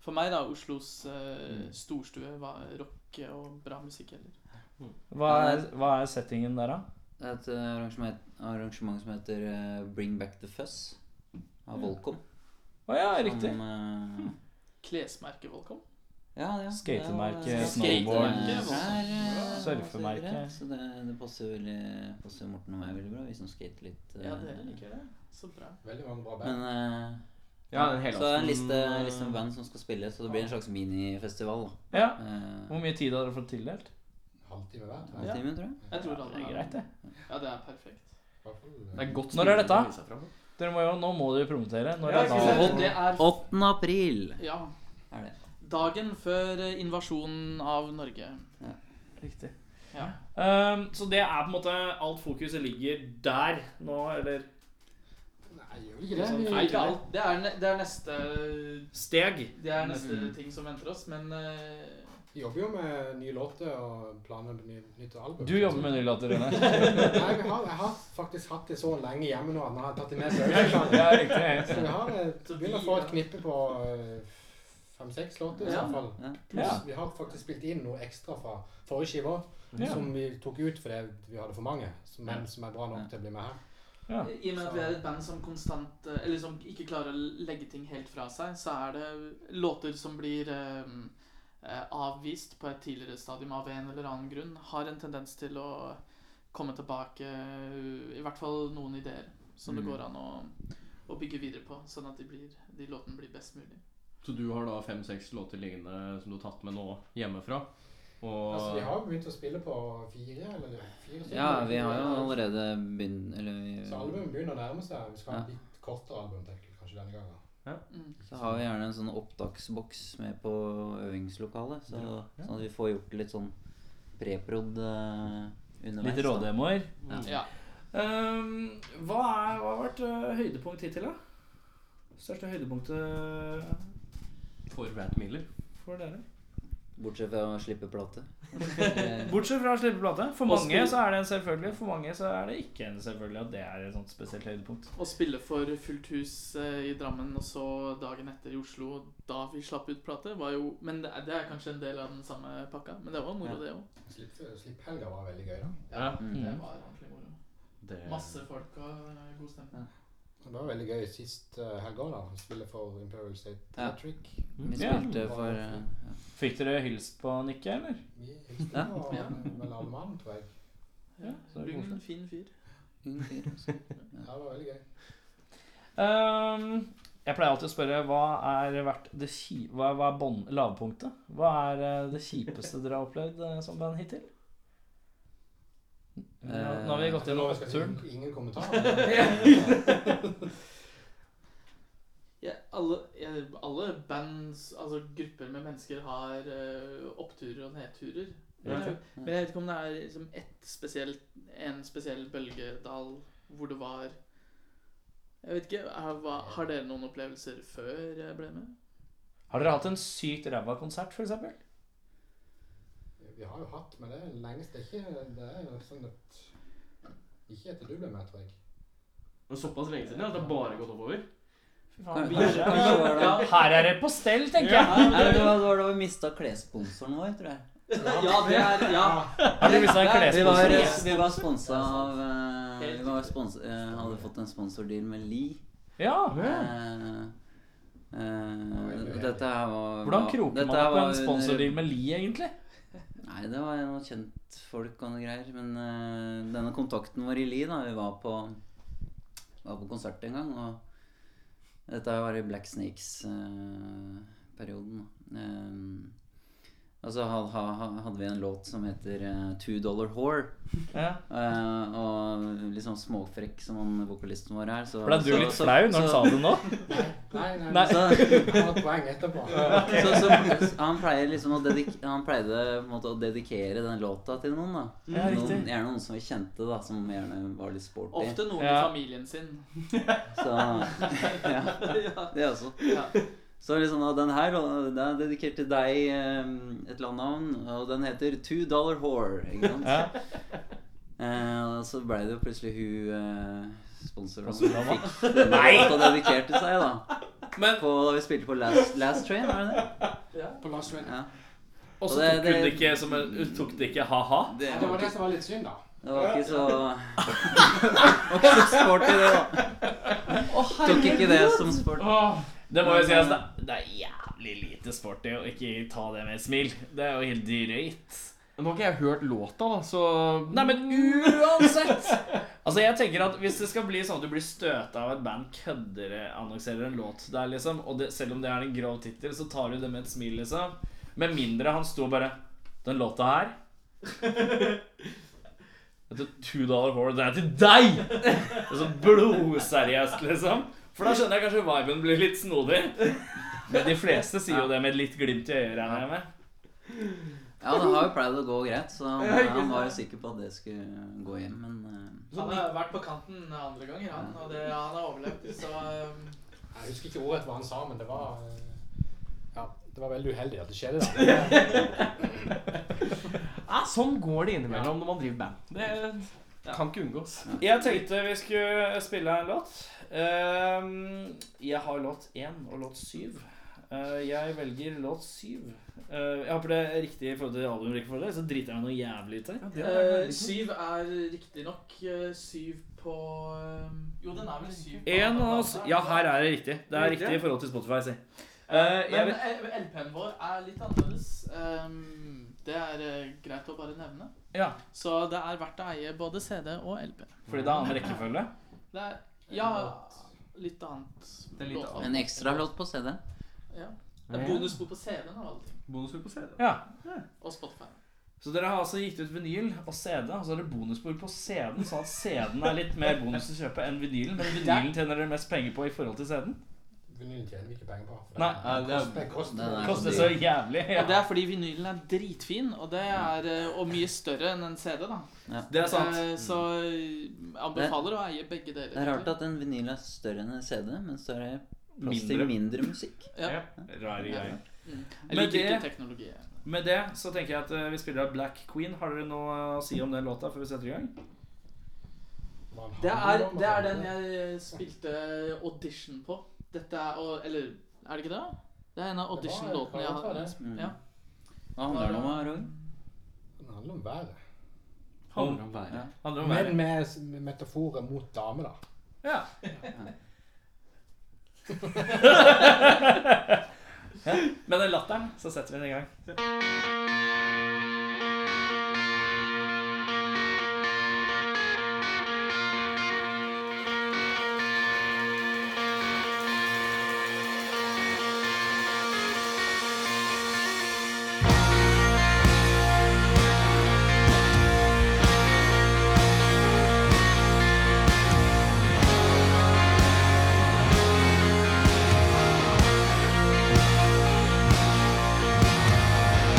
For meg, da, Oslos eh, storstue var rock og bra musikk. Eller. Hva er, hva er settingen der, da? Det er et eh, arrangement, arrangement som heter eh, Bring Back the Fuzz av Volcom. Å ja, som, riktig. eh, Klesmerket Volcom. ja, ja. Skatemerke, det er- snowboard, Skatemerke, her, eh, surfemerke. og så videre. Så det, det passer, veldig, passer Morten og meg veldig bra, vi som skater litt. eh, Ja, dere liker det. Så bra. veldig mange bra band. Men eh, Ja, den Så det er en liste, helaften- liste med band som skal spille, så det blir en slags minifestival. da. Ja. Eh, Hvor mye tid har dere fått tildelt? Halvtime hver. tror jeg. Halvtime, tror jeg. Jeg tror alle Det er greit, det. Ja, det er perfekt. I hvert fall, eh, Det er godt Når er dette? å vise seg frem. Dere må jo, Nå må dere promotere. Når Ja, er ikke sant? da? det er 8. april Ja. er det. Dagen før eh, invasjonen av Norge. Riktig. Ja. Ehm, så det er på en måte alt fokuset ligger der nå, eller Nei, Nei, gjør vel ikke Det det er, sånn. mye- ikke alt. Det er, ne- det er neste Steg. Det er neste Mhm. ting som venter oss, men eh, Vi jobber jo med nye låter og planer med ny- nytt album. Du jobber med nye låter, Rune. Nei, vi har, jeg har faktisk hatt det så lenge hjemme nå at jeg har tatt det med seg. Ja, overalt. Så riktig. vi har et- begynner å få et knippe på eh, fem-seks låter i Ja. hvert fall. Ja. Pluss vi har faktisk spilt inn noe ekstra fra forrige skive Ja. som vi tok ut fordi vi hadde for mange, som, men som er bra nok til å bli med her. Ja. i og med at vi er et band som konstant eh, Eller som ikke klarer å legge ting helt fra seg, så er det låter som blir eh, eh, avvist på et tidligere stadium av en eller annen grunn, har en tendens til å komme tilbake eh, I hvert fall noen ideer som det Mhm. går an å, å bygge videre på, sånn at de, blir, de låtene blir best mulig. Så du har da fem-seks låter liggende som du har tatt med nå hjemmefra? Og Altså, vi har jo begynt å spille på fire eller fire stykker. ja, vi har jo allerede begynt Eller vi, Så albumet begynner å nærme seg. Vi skal ha Ja. et litt kortere album, tenker jeg, kanskje denne gangen. Mm. så har vi gjerne en sånn opptaksboks med på øvingslokalet. Så, Sånn at vi får gjort litt sånn preprod eh, Litt underveis. da. rådemoer. Ja. Ehm, hva, er, hva har vært eh, øh, høydepunkt hittil, da? Største høydepunktet for Rat Miller. for dere? Bortsett fra å slippe plate. Bortsett fra å slippe plate. For Og mange spille- så er det en selvfølgelig, for mange så er det ikke en selvfølgelig. Og det er et sånt spesielt høydepunkt. Å spille for fullt hus eh, i Drammen, og så dagen etter i Oslo, da vi slapp ut plate, var jo Men det er, det er kanskje en del av den samme pakka. Men det var moro, Ja. det òg. Slipp, slipp helga var veldig gøy, da. Ja. Det Mm. var ordentlig moro. Det Masse folk og eh, god stemning. Det var veldig gøy sist uh, helg òg, da. å Spille for Imperial State Ja. Theatric. Vi Ja. spilte for eh, ja. Fikk dere hilst på Nikke, eller? Vi hilste Ja. på Ja. vel alle mann, tror jeg. Ja, så Lugn, koselig. fin fyr. Ingen fyr, altså. Ja, det var veldig gøy. Ehm, jeg pleier alltid å spørre hva er vært det ki hva, hva er bånd, lavpunktet? Hva er eh, det kjipeste dere har opplevd eh, som band hittil? Nå, Eh, nå har vi gått gjennom oppturen. Ingen kommentarer. Ja, alle, ja, alle bands, altså grupper med mennesker, har eh, oppturer og nedturer. Men jeg, men jeg vet ikke om det er liksom ett spesielt, en spesiell bølgedal hvor det var Jeg vet ikke, har, hva- har dere noen opplevelser før jeg ble med? Har dere hatt en sykt ræva konsert, for eksempel? vi har jo hatt, men det er lengst det er ikke Det er sånn at Ikke etter du ble med, tror jeg. Men såpass lenge siden ja, at det har bare gått oppover? Fy faen, vi- Kanskje- kanskje var det- Ja, Her er det på stell, tenker jeg. Nei, men det var det var da vi mista klessponsoren vår, tror jeg. Ja, det er Ja! Har dere mistet Vi var, klessponsor? vi var sponsa av eh, Vi var spons eh, hadde fått en sponsordeal med Lee. Ja. Eh, eh, dette her var Hvordan kroker dette man her opp var en under- sponsordeal med Lie, egentlig? Nei, det var noen kjentfolk og noe greier. Men eh, denne kontakten vår i Li, da Vi var på, var på konsert en gang, og dette var i Black eh, Snakes-perioden. Eh, og så ha- ha- ha- hadde vi en låt som heter eh, Two Dollar Whore. Ja. Eh, og liksom småfrekk som han vokalisten vår er. Så, Ble du så- litt så- flau når han så- sa det nå? Nei, nei, Nei. så- Jeg har et poeng etterpå. så, så, så han pleier liksom å dedik Han pleide på en måte å dedikere den låta til noen, da. Ja, noen, riktig. gjerne noen som vi kjente, da, som gjerne var litt sporty. Ofte noen i Ja. familien sin. Så ja, Ja. Eh, det også. Ja. Så liksom, og den her og den er dedikert til deg, eh, et landnavn, og den heter Two Dollar Whore. Ikke sant? Ja. Eh, og så ble det jo plutselig hun eh, sponsoren som Sponsoren, fikk den låta dedikert til seg, da. Men- På, da vi spilte på Last, Last Train, var det det? På Last Train. Ja. Og så Og det- tok hun det det- ikke som en, hun tok det ikke ha-ha. Det, Nei, det var det som var litt synd, da. det var ikke så Det var ikke så sporty, det, da. Tok ikke det som sport. Det må jo sies, det, det er jævlig lite sporty å ikke ta det med et smil. Det er jo helt drøyt. Nå har ikke jeg hørt låta, da, så Nei, men uansett! Altså, jeg tenker at Hvis det skal bli sånn at du blir støta av et band kødder-annonserer en låt der, liksom, og det, selv om det er en grov tittel, så tar du det med et smil, liksom. Med mindre han sto og bare Den låta her Dette two dollar whore, den er til deg! Det er så blodseriøst, liksom. For da skjønner jeg kanskje viben blir litt snodig. Men de fleste sier jo det med et litt glimt i øyet, regner jeg med. Ja, det har jo pleid å gå greit, så han, Ja, ikke han var jo sant? sikker på at det skulle gå hjem, men eh, Han har vært på kanten andre ganger, han, og det, han har overlevd. Så um, Jeg husker ikke ordet hva han sa, men det var eh, Ja, det var veldig uheldig at det skjedde. da. Ja, sånn går det innimellom når man driver band. Det kan ikke unngås. Jeg tenkte vi skulle spille en låt. Ehm, jeg har låt én og låt syv. Eh, jeg velger låt syv. Eh, jeg håper det er riktig i forhold til albumrekkefølge, så driter jeg meg noe jævlig ut her. eh, syv er riktignok uh, syv på um, Jo, den er vel syv på En av alle oss plater. Ja, her er det riktig. Det er Riktig. riktig i forhold til Spotify, si. Eh, jeg Men vet, eh, LP-en vår er litt annerledes. Um, det er eh, greit å bare nevne. ja, Så det er verdt å eie både CD og LP. fordi det er annen rekkefølge. Det er ja, litt annet. Det er litt låtvalg. eh, en ekstra låt på CD. Ja. Det er bonusspor på CD-en og alle ting. Ja. Og Spotify. Så dere har altså gitt ut vinyl og CD, og så er det bonusspor på CD-en, sånn at CD-en er litt mer bonus å kjøpe enn vinylen. Men vinylen tjener dere mest penger på i forhold til CD-en. Vinylen tjener vi ikke penger på. for Nei, den- det er- den koster, den er- Koster så jævlig. Og det er fordi vinylen er dritfin, og det er eh, og mye større enn en CD, da. Det er sant. Eh, Så eh, anbefaler å eie begge deler. Det er rart at en vinyl er større enn en CD, men så er det plass til Mindre. mindre musikk. Ja. Rare greier. Jeg Men liker ikke det- teknologi. Med det så tenker jeg at eh, vi spiller av Black Queen. Har dere noe å si om den låta før vi setter i gang? man Det er, handler om å det er handle. den jeg spilte audition på. Dette er og- Eller er det ikke det? Det er en av Det var- audition-låtene jeg det var har. det. Mm. Ja. Hva handler det om, Roger? Den handler om været. Handler om været. Handler om Men været. med s- med metaforer mot damer, da. Ja. ja. Med den latteren så setter vi den i gang.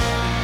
Hva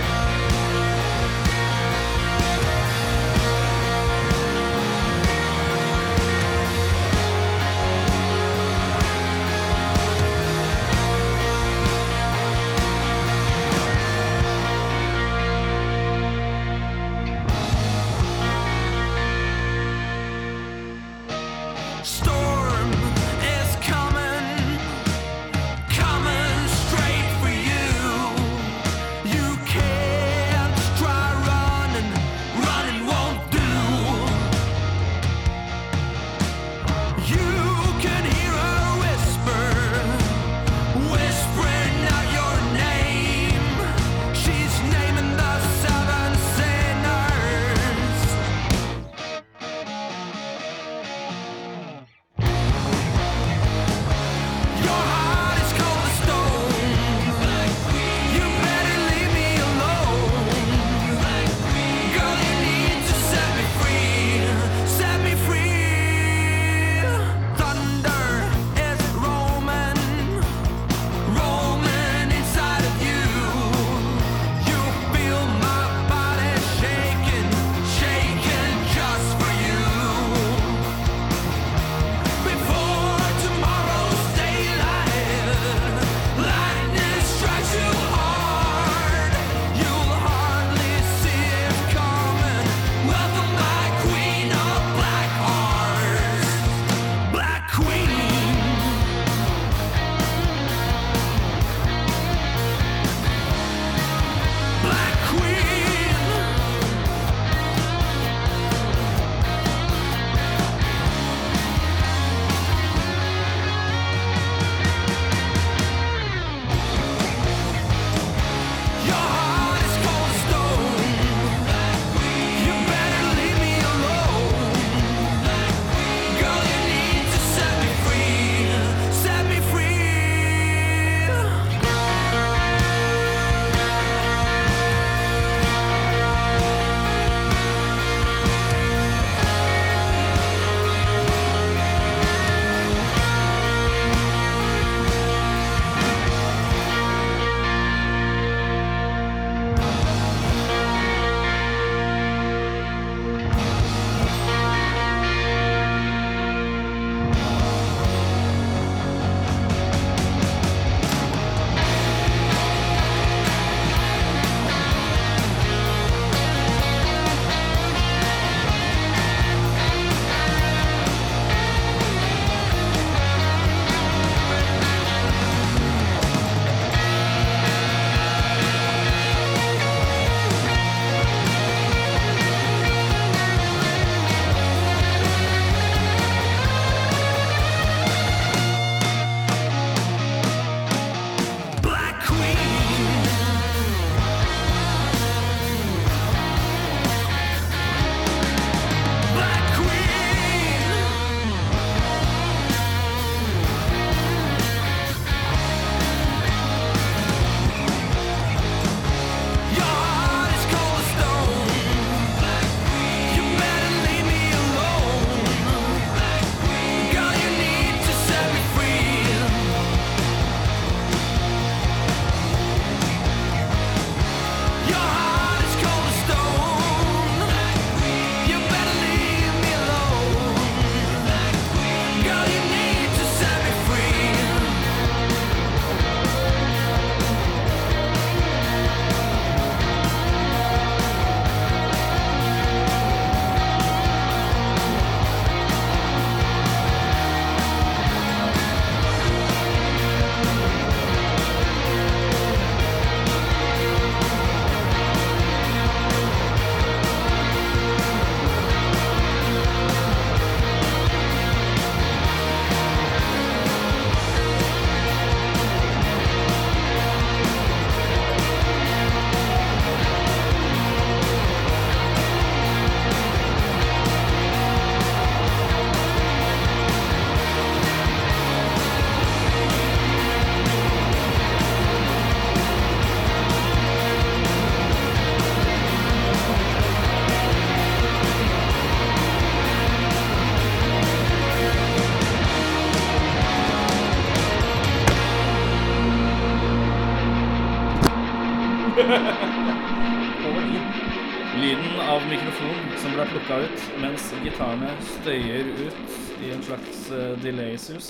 Lyden av mikrofonen som ble plukka ut mens gitarene støyer ut i en slags eh, delay-sus,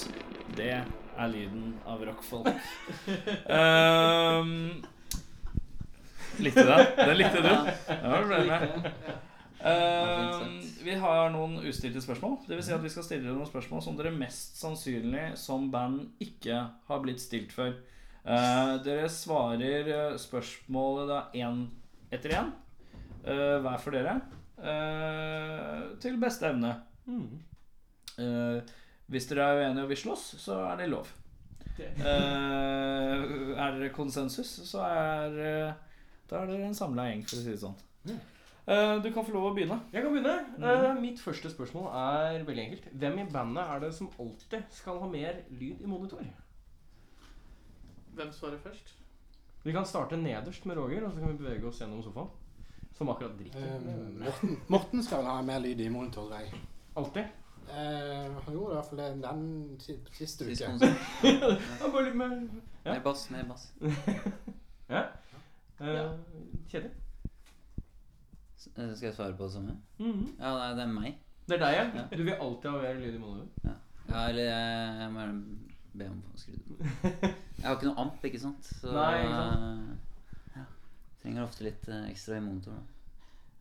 det er lyden av rockfolk. Ehm, likte du den? Den likte du? Den var du fornøyd med. Ehm, vi har noen ustilte spørsmål. Det vil si at vi skal stille dere noen spørsmål som dere mest sannsynlig som band ikke har blitt stilt før. Eh, dere svarer eh, spørsmålet da én etter én eh, hver for dere. eh, til beste evne. Mm. Eh, hvis dere er uenige og vil slåss, så er det lov. Eh, er det konsensus, så er eh, Da er dere en samla gjeng, for å si det sånn. Mm. Eh, du kan få lov å begynne. Jeg kan begynne. Mhm. Eh, mitt første spørsmål er veldig enkelt. Hvem i bandet er det som alltid skal ha mer lyd i monitor? Hvem svarer først? Vi kan starte nederst med Roger, og så kan vi bevege oss gjennom sofaen. Som akkurat drikker. Eh, Morten, Morten skal vel ha mer lyd i monitor, tror jeg. Alltid. Eh, han gjorde i hvert fall det den si- siste Sist uke. konsert. Ja, bare litt mer Ja. Mer bass, mer bass. eh, Kjedelig. S- eh, Skal jeg svare på det samme? Mhm. Ja, nei, det er meg. Det er deg, ja. Ja. Du vil alltid ha mer lyd i monitor. Ja, eller jeg, jeg må gjerne be om å få skrudd på. Jeg har ikke noe amp, ikke sant? Så Nei, ikke eh, ja. trenger ofte litt eh, ekstra i monitor. Da.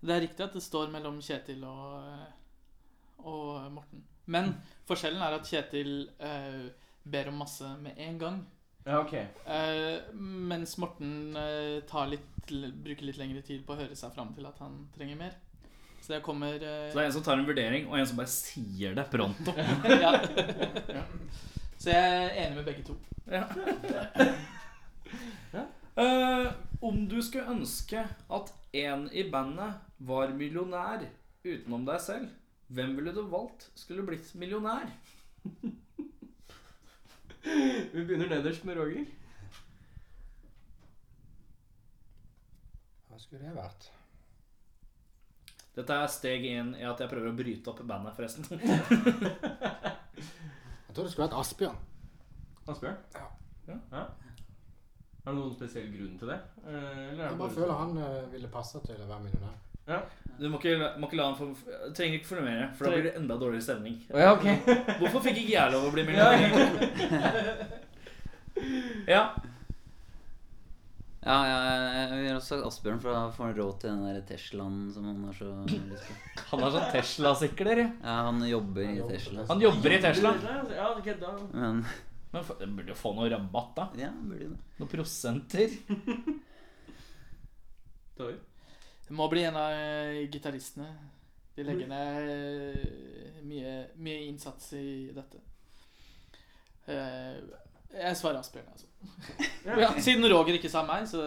Det er riktig at det står mellom Kjetil og, eh, og Morten. Men forskjellen er at Kjetil eh, ber om masse med en gang. Ja, ok. Eh, mens Morten eh, tar litt, bruker litt lengre tid på å høre seg fram til at han trenger mer. Så det kommer eh, Så det er en som tar en vurdering, og en som bare sier det pronto. ja. Så jeg er enig med begge to. Eh, om du skulle ønske at en i bandet var millionær utenom deg selv, hvem ville du valgt skulle blitt millionær? Vi begynner nederst med Roger. Hva skulle det vært? Dette er steg én i at jeg prøver å bryte opp bandet, forresten. Jeg tror det skulle vært Asbjørn. Asbjørn? Ja. ja. ja. Er det noen spesiell grunn til det? Eh, Eller er Jeg det bare føler han eh, ville passa til å være millionær. Du må ikke, må ikke la han få Trenger ikke formere, for da blir det enda dårligere stemning. ja, ok. Hvorfor fikk ikke jeg lov å bli millionær? Ja. Ja, ja, jeg vil også ha Asbjørn, for da får han råd til den der Teslaen som han har så lyst på. Han er sånn Tesla-sikler. ja. Ja, han jobber i Tesla. Han jobber i Tesla. Ja, ok, da. Men Men fa- jeg burde jo få noe rabatt, da. ja, burde jo det. Noen prosenter. Tar vi. Det må bli en av eh, gitaristene. De legger ned eh, mye, mye innsats i dette. Eh, Jeg svarer Asbjørn, altså. Ja, siden Roger ikke sa meg, så,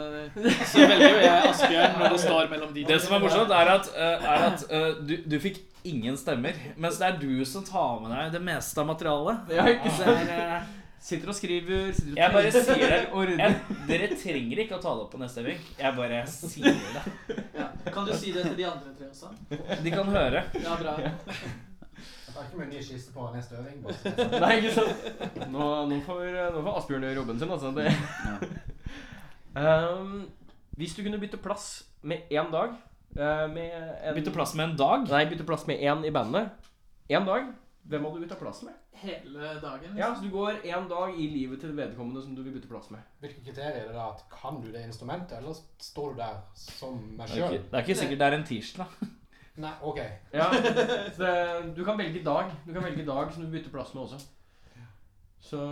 så velger jo jeg Asbjørn når det står mellom de to. Det som er morsomt, er at, eh, er at eh, du, du fikk ingen stemmer. Mens det er du som tar med deg det meste av materialet. Ja, ikke Det sant? er, eh, Sitter og skriver, sitter og Jeg bare tenker, sier det. og runder. jeg, dere trenger ikke å ta det opp på neste øving. Jeg bare sier det. Kan du si det til de andre tre også? De kan høre. Ja, bra. Jeg tar ikke med en ny skisse på neste øving. bare så det er sagt. Nei, ikke sant? Nå, nå, får, nå får Asbjørn gjøre jobben sin, altså. Det. Ehm, hvis du kunne bytte plass med én dag eh, med en, Bytte plass Altså, med en dag. Nei, bytte plass med én i bandet. Én dag. Hvem hadde du bytta plass med? Hele dagen? Ja, så Du går én dag i livet til vedkommende som du vil bytte plass med. Hvilke kriterier er det da? At kan du det instrumentet, eller står du der som meg Det er sjøl? ikke, det er ikke sikkert det er en tirsdag. Nei, OK. Ja, så det- Du kan velge dag Du kan velge dag som du bytter plass med også. Så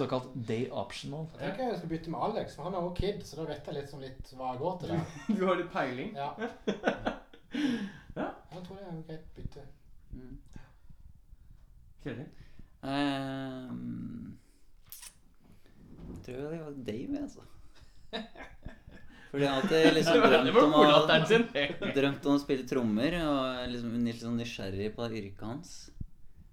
Såkalt day optional. Jeg tenker jeg skal bytte med Alex, for han er også kid, så da vet jeg litt, som litt hva jeg går til der. du har litt peiling. Ja. Jeg tror det er et greit bytte. Mm. Kjedelig. Ehm, Jeg tror det var Dave, jeg, altså. Fordi jeg har alltid liksom drømt om å, drømt om å spille trommer, og er liksom litt sånn nysgjerrig på yrket hans.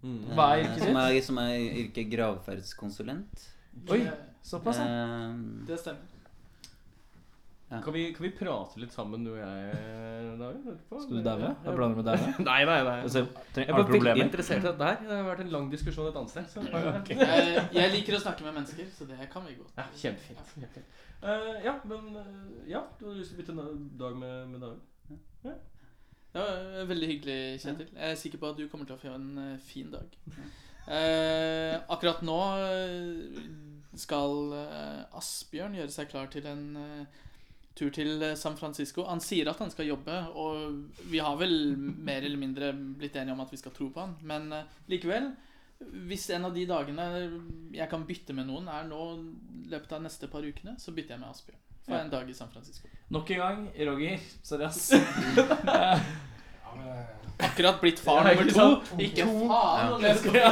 Mm. Hva er Eh, yrket Som er, som er yrket gravferdskonsulent. Oi, såpass, ja. Ehm, Det stemmer. Ja. Kan, vi, kan vi prate litt sammen, du og jeg, David? etterpå? Skal du daue? Ja. Har du planer om å daue? Eh, Nei, nei, nei. Altså, Jeg trenger- var Har du veldig problemer? interessert i dette her. Det har vært en lang diskusjon et annet sted. Så. Jeg, jeg liker å snakke med mennesker, så det kan vi godt. Ja, kjempefint. kjempefint. Eh, ja, men eh, Ja, du hadde lyst til å bytte na- dag med, med David? Det var eh, veldig hyggelig, Kjetil. Jeg er sikker på at du kommer til å få en eh, fin dag. Eh, akkurat nå eh, skal eh, Asbjørn gjøre seg klar til en eh, tur til eh, San Francisco. Han sier at han skal jobbe, og vi har vel mer eller mindre blitt enige om at vi skal tro på han. Men eh, likevel, hvis en av de dagene jeg kan bytte med noen, er nå i løpet av neste par ukene, så bytter jeg med Asbjørn. For en dag i San Francisco. Nok en gang, Roger. Sorry, ass. Ja, men, eh, Akkurat blitt far nummer to. Ikke faen, faen! Ja.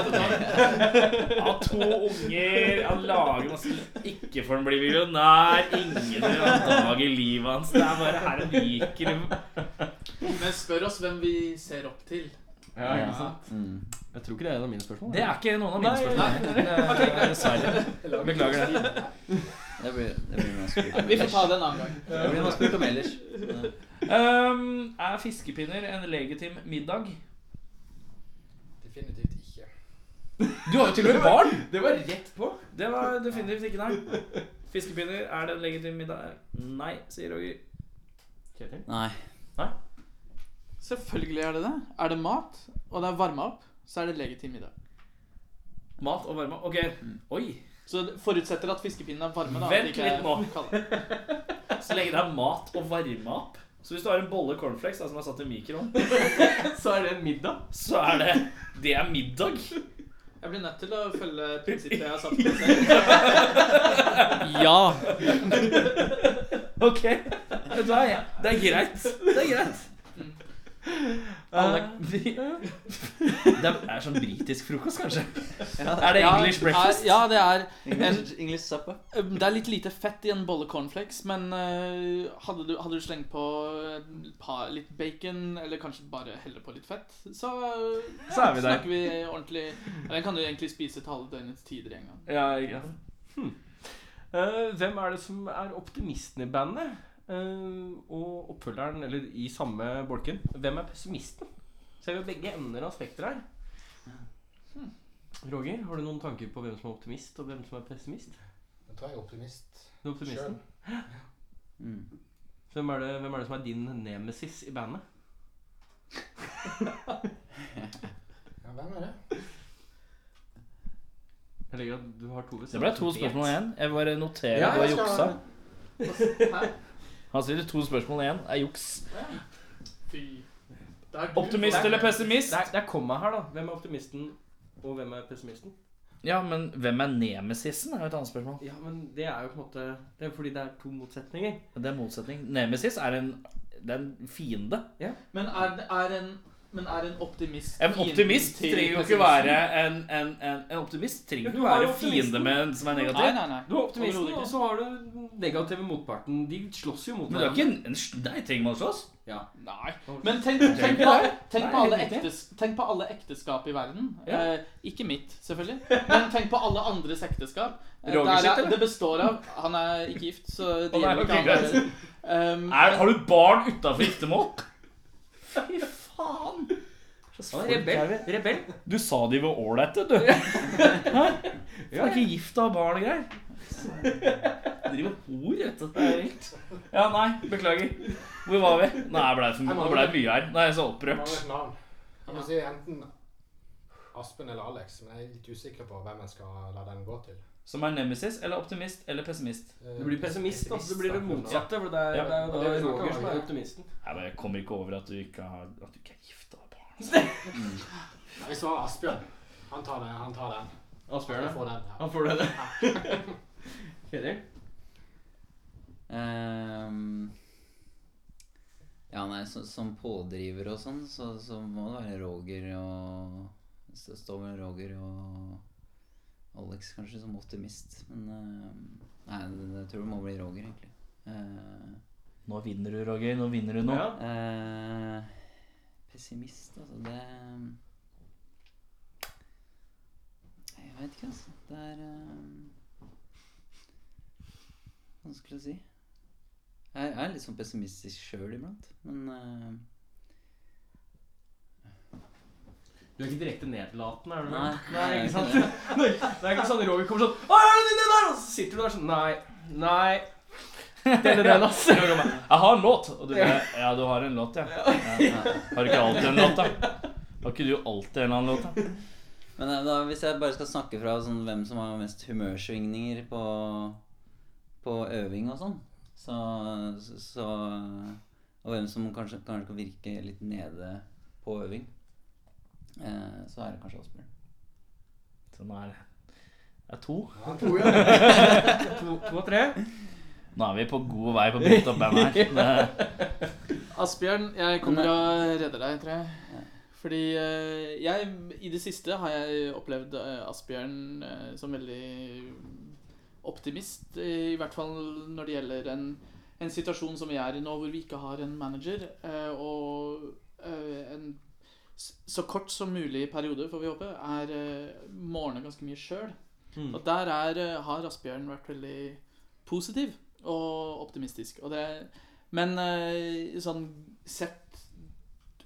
Av to unger Han lager masse Ikke for han blir millionær. Ingen dag i livet hans. Det er bare her han liker det. Men spør oss hvem vi ser opp til. Ja, ikke sant? Mm. Jeg tror ikke det er et av mine spørsmål. Det er ikke noen av mine Nei, spørsmål. Det er Dessverre. Beklager det. Det blir, det blir noe spurt om Vi får ellers. ta det en annen gang. Det blir noe spurt om ellers. Ja. Ehm, er fiskepinner en legitim middag? Definitivt ikke. Du har jo til og med barn! Det var rett på! Det var definitivt ikke nei. Fiskepinner, er det en legitim middag? Nei, sier Roger. Kjetil? Nei. Selvfølgelig er det det. Er det mat, og det er varma opp, så er det legitim middag. Mat og varme. Ok. Oi. Så det forutsetter at fiskepinnene er varme. da at Vent det ikke litt er nå. kaldt. Så lenge det er mat og varme opp Så hvis du har en bolle cornflakes da, som er satt i mikroen, Så er det en middag. så er det Det er middag. Jeg blir nødt til å følge prinsippet jeg har satt meg selv. Ja. Ok. Vet du hva? ja. Det er greit. Det er greit. Eh, Alle, det er sånn britisk frokost, kanskje. Er det English breakfast? Ja, det er English, English supper. Det er litt lite fett i en bolle cornflakes, men eh, hadde, du, hadde du slengt på et par, litt bacon, eller kanskje bare helle på litt fett, så, eh, Så er vi der. snakker vi ordentlig Den kan du egentlig spise til halve døgnets tider en gang. Ja, ja. Eh, hvem er det som er optimisten i bandet? Eh, og oppfølgeren, eller i samme bolken, hvem er pessimisten? Ser vi begge ender av spekteret her. Hmm. Roger, har du noen tanker på hvem som er optimist, og hvem som er pessimist? Jeg tror jeg er optimist Du er optimisten. sjøl. Mm. Hvem er, det, hvem er det som er din nemesis i bandet? Ja, hvem er det? Jeg legger at du har to ved Det ble to av deg. spørsmål igjen. Jeg bare noterer Ja, at du har jeg skal- juksa. Hæ? Han stiller to spørsmål igjen. Er juks. Fy. Det er Gud. Optimist eller pessimist? Det er, det er komma her, da. Hvem er optimisten, og hvem er pessimisten? Ja, men hvem er nemesisen? er jo et annet spørsmål. Ja, men det er jo på en måte Det er fordi det er to motsetninger. Det er motsetning. Nemesis er en, det er en fiende. Men er, er en, men er en optimist En fienden optimist til trenger jo ikke pessimisten? være en, en, en, en optimist trenger Men du jo ikke har være jo fiende optimisten. med en som er Nei, negativ. nei, nei. Du har optimisten, Overhodet og ikke. så har du den negative motparten. De slåss jo mot Men det er ikke en, en Nei, trenger man å slåss? Nei. Men tenk, tenk, på, tenk, på Nei, alle helt riktig. ektes, tenk på alle ekteskap i verden. Ja. Eh, ikke mitt, selvfølgelig. Men tenk på alle andres ekteskap. Eh, Roger der sitt, er- eller? det består av Han er ikke gift, så det Å, nei, gjelder ok, ikke han greit. heller. Um, Er, har du barn utafor giftermål? Fy faen! Rebell. Rebell. Du sa de var ålreite, du. Hæ? Du er ikke gift og har barn og greier. Du driver hor, vet du. Det er vilt. Ja, nei, beklager. Hvor var vi? Nei, det ble, for, det ble mye her. Nå er jeg så Jeg opprørt. mangler et navn. Jeg må si enten Aspen eller Alex, men jeg er litt usikker på hvem jeg skal la den gå til. Som er nemesis eller optimist eller pessimist. Eh, Du blir pessimist, altså. Du blir det motsatte. For det er, Ja. det er jo Det da er jo Roger som snakk er om. optimisten. Jeg bare kommer ikke over at du ikke, har, at du ikke er gift og har barn. Jeg svarer Asbjørn. Han tar den. Han tar den. Asbjørn, Jeg ja. får den. Ja. Han får det. Kjetil? Ehm, ja, nei, så, som pådriver og sånn, så, så må det være Roger og stå- Stå med Roger og Alex kanskje som optimist. Men ehm, nei, det, det tror jeg må bli Roger, egentlig. Eh, Nå vinner du, Roger. Nå vinner du nå. Ja. eh, pessimist, altså. Det Nei, Jeg vet ikke, altså. Det eh, er ehm, vanskelig å si. Jeg er litt sånn pessimistisk sjøl iblant, men eh, Du er ikke direkte nedlatende, er du? Nei. nei ikke sant? Nei, det er ikke sånn Roger kommer sånn Å, er det det der? Og så sitter du der sånn Nei. Nei. Den er den, ass. Jeg har en låt! Og du bare Ja, du har en låt, ja. Har du ikke alltid en låt, da? Har ikke du alltid en eller annen låt, da? Men eh, da, hvis jeg bare skal snakke fra sånn, hvem som har mest humørsvingninger på, på øving og sånn, så, så Og hvem som kanskje, kanskje kan virke litt nede på øving, eh, så er det kanskje Asbjørn. Så nå er det det er to. To, to og tre. Nå er vi på god vei på Beat Up Band her. Det, Asbjørn, jeg kommer og redder deg, tror jeg. Fordi eh, jeg I det siste har jeg opplevd eh, Asbjørn eh, som veldig optimist. eh, I hvert fall når det gjelder en, en situasjon som vi er i nå, hvor vi ikke har en manager. eh, og eh, en s- så kort som mulig periode, får vi håpe, er eh, morgenen ganske mye sjøl. Og der er, eh, har Asbjørn vært veldig positiv og optimistisk. Og det men eh, sånn sett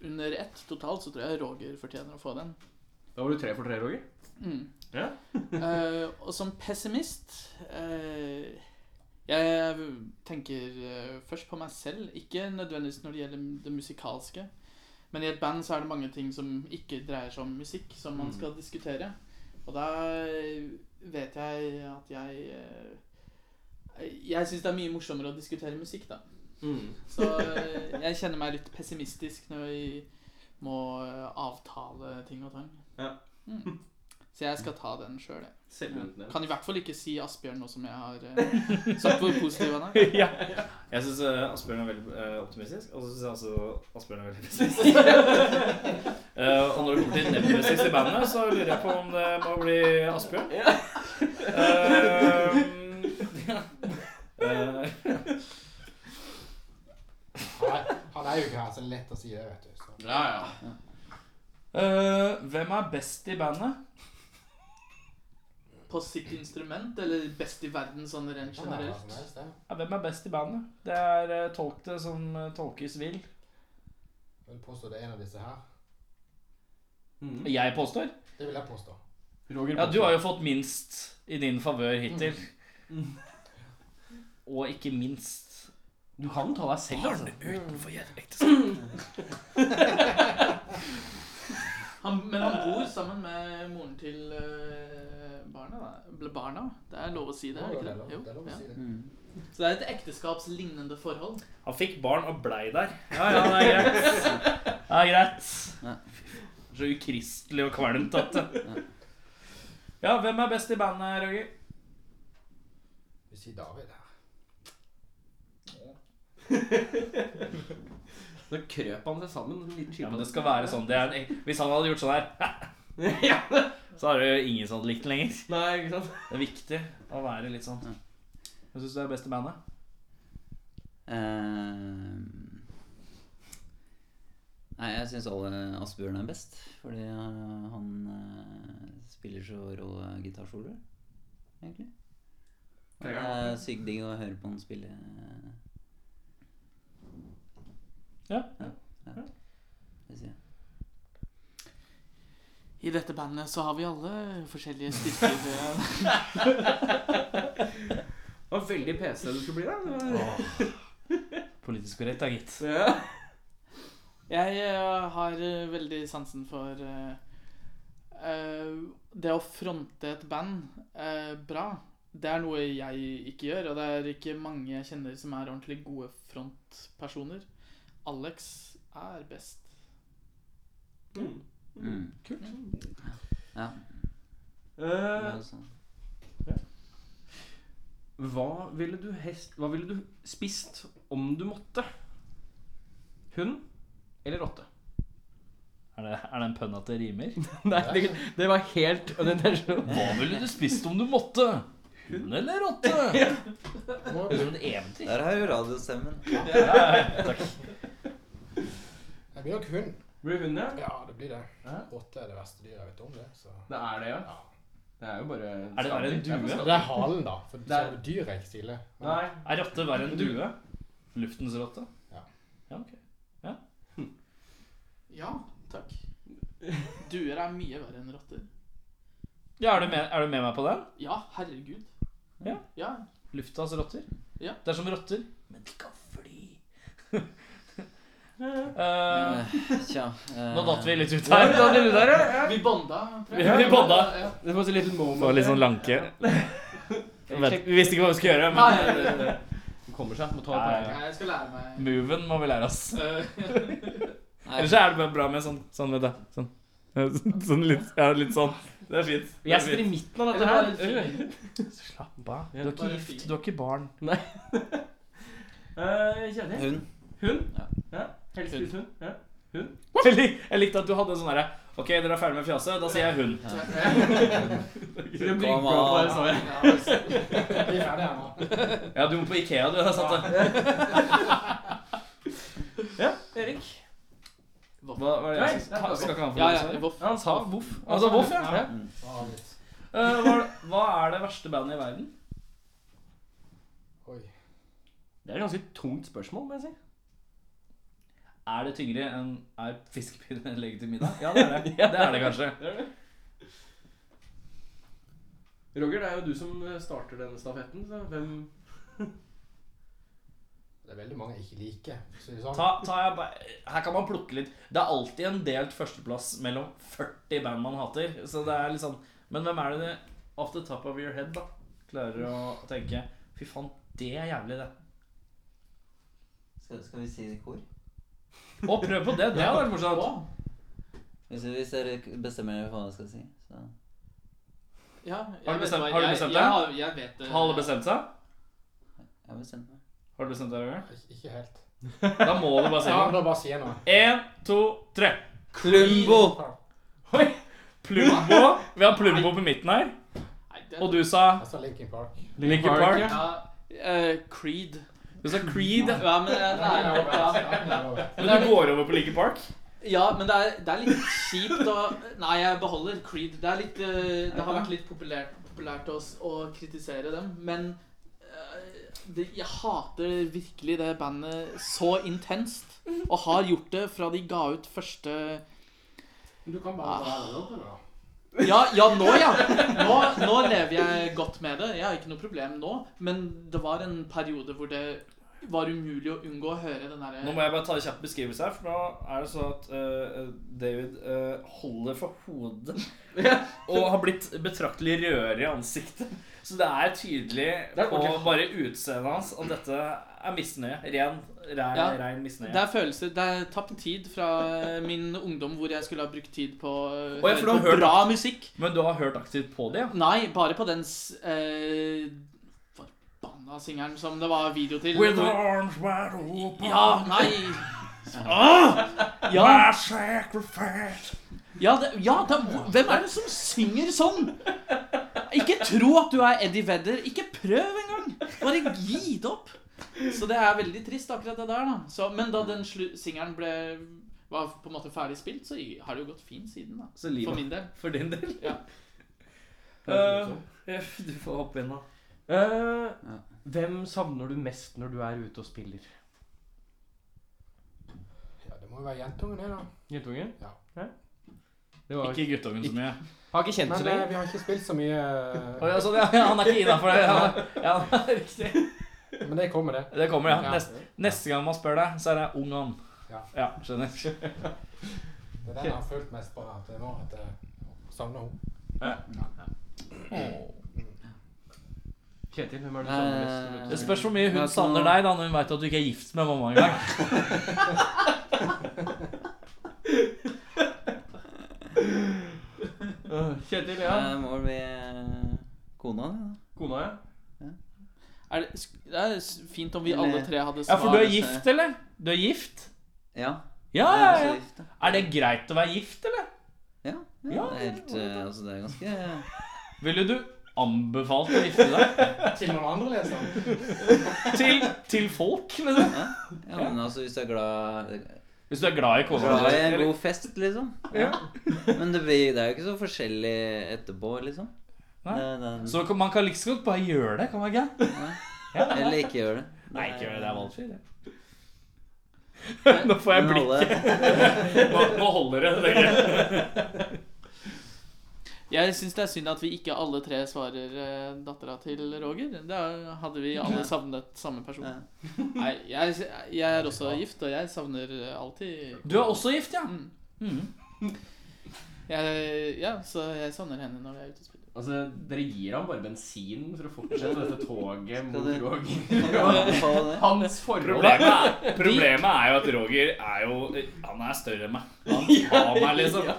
under ett totalt, så tror jeg Roger fortjener å få den. Da var du tre for tre, Roger. Mm. Ja. Eh, og som pessimist eh, Jeg tenker eh, først på meg selv, ikke nødvendigvis når det gjelder det musikalske. Men i et band så er det mange ting som ikke dreier seg om musikk, som man Mm. skal diskutere. Og da eh, vet jeg at jeg eh, Jeg syns det er mye morsommere å diskutere musikk, da. Så eh, jeg kjenner meg litt pessimistisk når vi må eh, avtale ting og tang. Ja. Mm. Så jeg skal ta den sjøl, jeg. Selvhentende. Kan i hvert fall ikke si Asbjørn nå som jeg har eh, sagt hvor positiv han er. ja. Jeg syns Asbjørn er veldig eh, optimistisk, og så syns jeg også Asbjørn er veldig pessimistisk. Eh, og når det kommer til nemesis i bandet, så lurer jeg på om det må bli Asbjørn. Eh, eh, Han er, han er jo ikke her, så det er lett å si det, vet du. Så. ja, ja. Eh, hvem er best i bandet? På sitt instrument, eller best i verden sånn rent Han er hva generelt. som helst, det. Ja, hvem er best i bandet? Det er eh, tolk det som eh, tolkes vil. Jeg vil påstå det er en av disse her. Jeg påstår. Det vil jeg påstå. Roger Ja, du har jo fått minst i din favør hittil. Og ikke minst Du kan ta deg selv, altså. utenfor ekteskap. Han, men han bor sammen med moren til eh, barna. da. Ble barna. Det er lov å si det, er Det det ikke er lov- det? det er Jo. lov å Ja. si det. Mm. Så det er et ekteskapslignende forhold. Han fikk barn og blei der. Ja, ja, det er greit. Det er greit. Ja. Så ukristelig og kvalmt at det Ja, hvem er best i bandet, Roger? Vi sier David her. Da krøp han seg sammen. som en liten Ja, men det skilpadde. skal være sånn. Det er en, hvis han hadde gjort sånn her, Ja. så er det jo ingen som hadde likt den lenger. Nei, ikke sant? Det er viktig å være litt sånn. Hvem syns du er best i bandet? Eh, nei, jeg syns Asbjørn er best, fordi eh, han eh, spiller så rå gitarsoloer, egentlig. Og Det er sykt digg å høre på han spille. Ja. Ja, det sier jeg. I dette bandet så har vi alle forskjellige styrker. eh, Det var veldig PC du skulle bli, da. Det var- Politisk korrekt, da, gitt. Ja. Jeg eh, har eh, veldig sansen for eh, eh, det å fronte et band eh, bra. Det er noe jeg ikke gjør, og det er ikke mange jeg kjenner som er ordentlig gode frontpersoner. Alex er best. Mm. Kult. Ja, det Eh, er sånn. hva ville du hest Hva ville du spist om du måtte? Hund eller rotte? Er det, er det en pønn at det rimer? Nei, det, det var helt unintentional. Hva ville du spist om du måtte? Hund eller rotte? Det er Må jo Sånn som et eventyr. Der har jo radiostemmen. Det blir nok hund. Blir det hund, ja? Ja, det blir det. Ja. Rotte er det verste dyret jeg vet om, det. Så. Det er det, ja. Det er jo bare Er det- er det skadelig. en due? Det er halen, da. For Der. selve dyret er ikke stille. Nei. Er rotte verre enn due? Luftens rotte? Ja. ja ok. Ja, takk. Duer er mye verre enn rotter. Ja, er, du med, er du med meg på den? Ja, herregud. Ja. ja. Luftas rotter? Ja. Det er som rotter. Men de kan fly. Eh, Eh, Tja. eh, nå datt vi litt ut her. Datt vi litt ut her, ja. Vi banda. tror jeg. Vi- vi banda. Ja. Det var så liten moment. Få litt sånn lanke. Vet, vi visste ikke hva vi skulle gjøre, Nei, men nei, nei, nei. Du kommer seg. Må ta Ja, ja, ja. Nei, jeg skal lære meg moven må vi lære oss. Eh, Nei, Ellers så er det bare bra med sånn, sånn vet du. Sånn. sånn litt, ja, litt sånn. Det er fint. Det Jeg er sitter fint. i midten av det dette var her. litt fint. Slapp av. Du er ikke Bare gift, fint. du er ikke barn. Eh, Kjedelig. Hund. Hund? Ja. Ja. Helst Hund. litt hund. Ja. Jeg lik- jeg likte at du hadde en sånn derre Ok, dere er ferdig med fjaset, da sier jeg hun. Det blir Kom bra på an. det, sa jeg. Ja, hvis- Vi er ferdige her nå. Ja, du må på Ikea, du. har satt det. Ja, Erik. Hva, hva er det jeg skal, skal ikke han få Ja, lov til ja, å svare? voff. Ja, han sa voff. Altså, voff, ja. Ja. Ja, litt. Eh, hva, er- hva er det verste bandet i verden? Oi. Det er et ganske tungt spørsmål, må jeg si. Er det tyngre enn er fiskepinne en legg til middag? Ja, det er det. Det er det kanskje. Roger, det er jo du som eh, starter denne stafetten. Så hvem Det er veldig mange jeg ikke liker. for å si det sånn. Ta, ta jeg, ba- her kan man plukke litt. Det er alltid en delt førsteplass mellom 40 band man hater. Så det er litt sånn Men hvem er det det off the top of your head da klarer å tenke Fy faen, det er jævlig, det. Skal, skal vi si det i kor? Å, prøv på det. Det hadde vært morsomt. Hvis, hvis dere bestemmer dere for hva dere skal si. Så. Ja, jeg Har du vet bestemt- hva- har du jeg- bestemt jeg deg? har- Jeg vet det. Har alle bestemt seg? Jeg har bestemt meg. Har du bestemt deg, Roger? Ik- Ikke helt. Da må du bare si Ja, noe. da bare sier jeg noe. Én, to, tre. Klumbo! Oi! Plumbo. Vi har Plumbo på midten her. Nei, det- Og du sa Jeg sa Linkin Park. Linkin Park. Ja, eh, Creed. Du sa Creed. Ja, men, eh, nei, Ja, ja, ja, ja, ja. Men du går over på Linkin Park? ja, men det er, det er litt kjipt å Nei, jeg beholder Creed. Det, er litt, eh, det har vært litt populært, populært å, s- å kritisere dem, men eh, det, jeg hater virkelig det bandet så intenst. Og har gjort det fra de ga ut første Men Du kan bare være lover, da. Ja, ja nå, ja. Nå, nå lever jeg godt med det. Jeg har ikke noe problem nå. Men det var en periode hvor det var umulig å unngå å høre den Nå derre må jeg bare ta en kjapp beskrivelse her, for nå er det så at eh, David eh, holder for hodet og har blitt betraktelig rødere i ansiktet. Så det er tydelig Det er på ordentlig. bare utseendet hans at dette er misnøye. Ren, ren, Ja. ren Det misnøye. er følelser. Det er tapt tid fra min ungdom hvor jeg skulle ha brukt tid på, Å, ja, for du på har hørt- bra musikk. Men du har hørt aktivt på det, ja? Nei, bare på den s- eh, forbanna singelen som det var video til. With arms wide open, Ja, nei ah! Ja, my sacrifice Ja, det, ja det, hvem er det som synger sånn? Ikke tro at du er Eddie Vedder. Ikke prøv engang! Bare gi det opp. Så det er veldig trist, akkurat det der. da så, Men da den slu- singelen ble var på en måte ferdig spilt, så har det jo gått fint siden. da Så For livet min del. for din del. Ja. Eh, du får hoppe inn, da. Eh, Ja. Hvem savner du mest når du er ute og spiller? Ja, det må jo være jentungen, det, da. Jentungen? Ja. Det var, Ikke guttungen så mye. Har ikke kjent Men så eh, lenge. vi har ikke spilt så mye Å, eh, ja, sånn, ja, ja, han er ikke innafor det. Ja, ja, riktig. Men det kommer, det. Det kommer, ja. Ja. Neste, neste gang man spør deg, så er det ung han. Ja. skjønner. Det er den jeg har følt mest på at jeg nå at jeg savner henne. Kjetil, hvem er det du savner mest? når du er ute Eh, Det og spiller? spørs hvor mye hun Men at savner nå- deg da, når hun veit at du ikke er gift med mamma engang. Øh, Kjetil, ja. Det må vel bli eh, kona, det. da. Eh, Kona, ja. Er det, sk- det er s- fint om vi alle tre hadde eh, Ja, for du svar. er gift, eller? Du er gift? Ja. Ja, jeg ja, er ja. også gift, da. Er det greit å være gift, eller? Ja, ja, Ja, det er helt eh, Altså, det er ganske Ville du anbefalt å gifte deg? Til noen andre leser. Til, til folk, liksom? Ja, men altså, hvis du er glad eh, Hvis du er glad i kona Glad i en eller- god fest, liksom. Ja. Men det, blir, det er jo ikke så forskjellig etterpå, liksom. Nei. Det, det, Så kan- man kan like så godt bare gjøre det, kan man ikke? eller ikke gjøre det. Nei, ikke gjør det. Det er valgfri, det. Nå får jeg blikket. Nå, nå holder det. tenker jeg. Jeg syns det er synd at vi ikke alle tre svarer eh, dattera til Roger. Da hadde vi alle savnet samme person. Ja. Nei, jeg, jeg er også gift, og jeg savner eh, alltid Du er også gift, ja? Mm. Mm. jeg, Ja, så jeg savner henne når jeg er ute og spiller. Altså, Dere gir ham bare bensin for å fortsette dette toget mot det- Roger. Hans forhold Problemet, er- problemet er jo at Roger er jo Han er større enn meg. Han tar meg, liksom.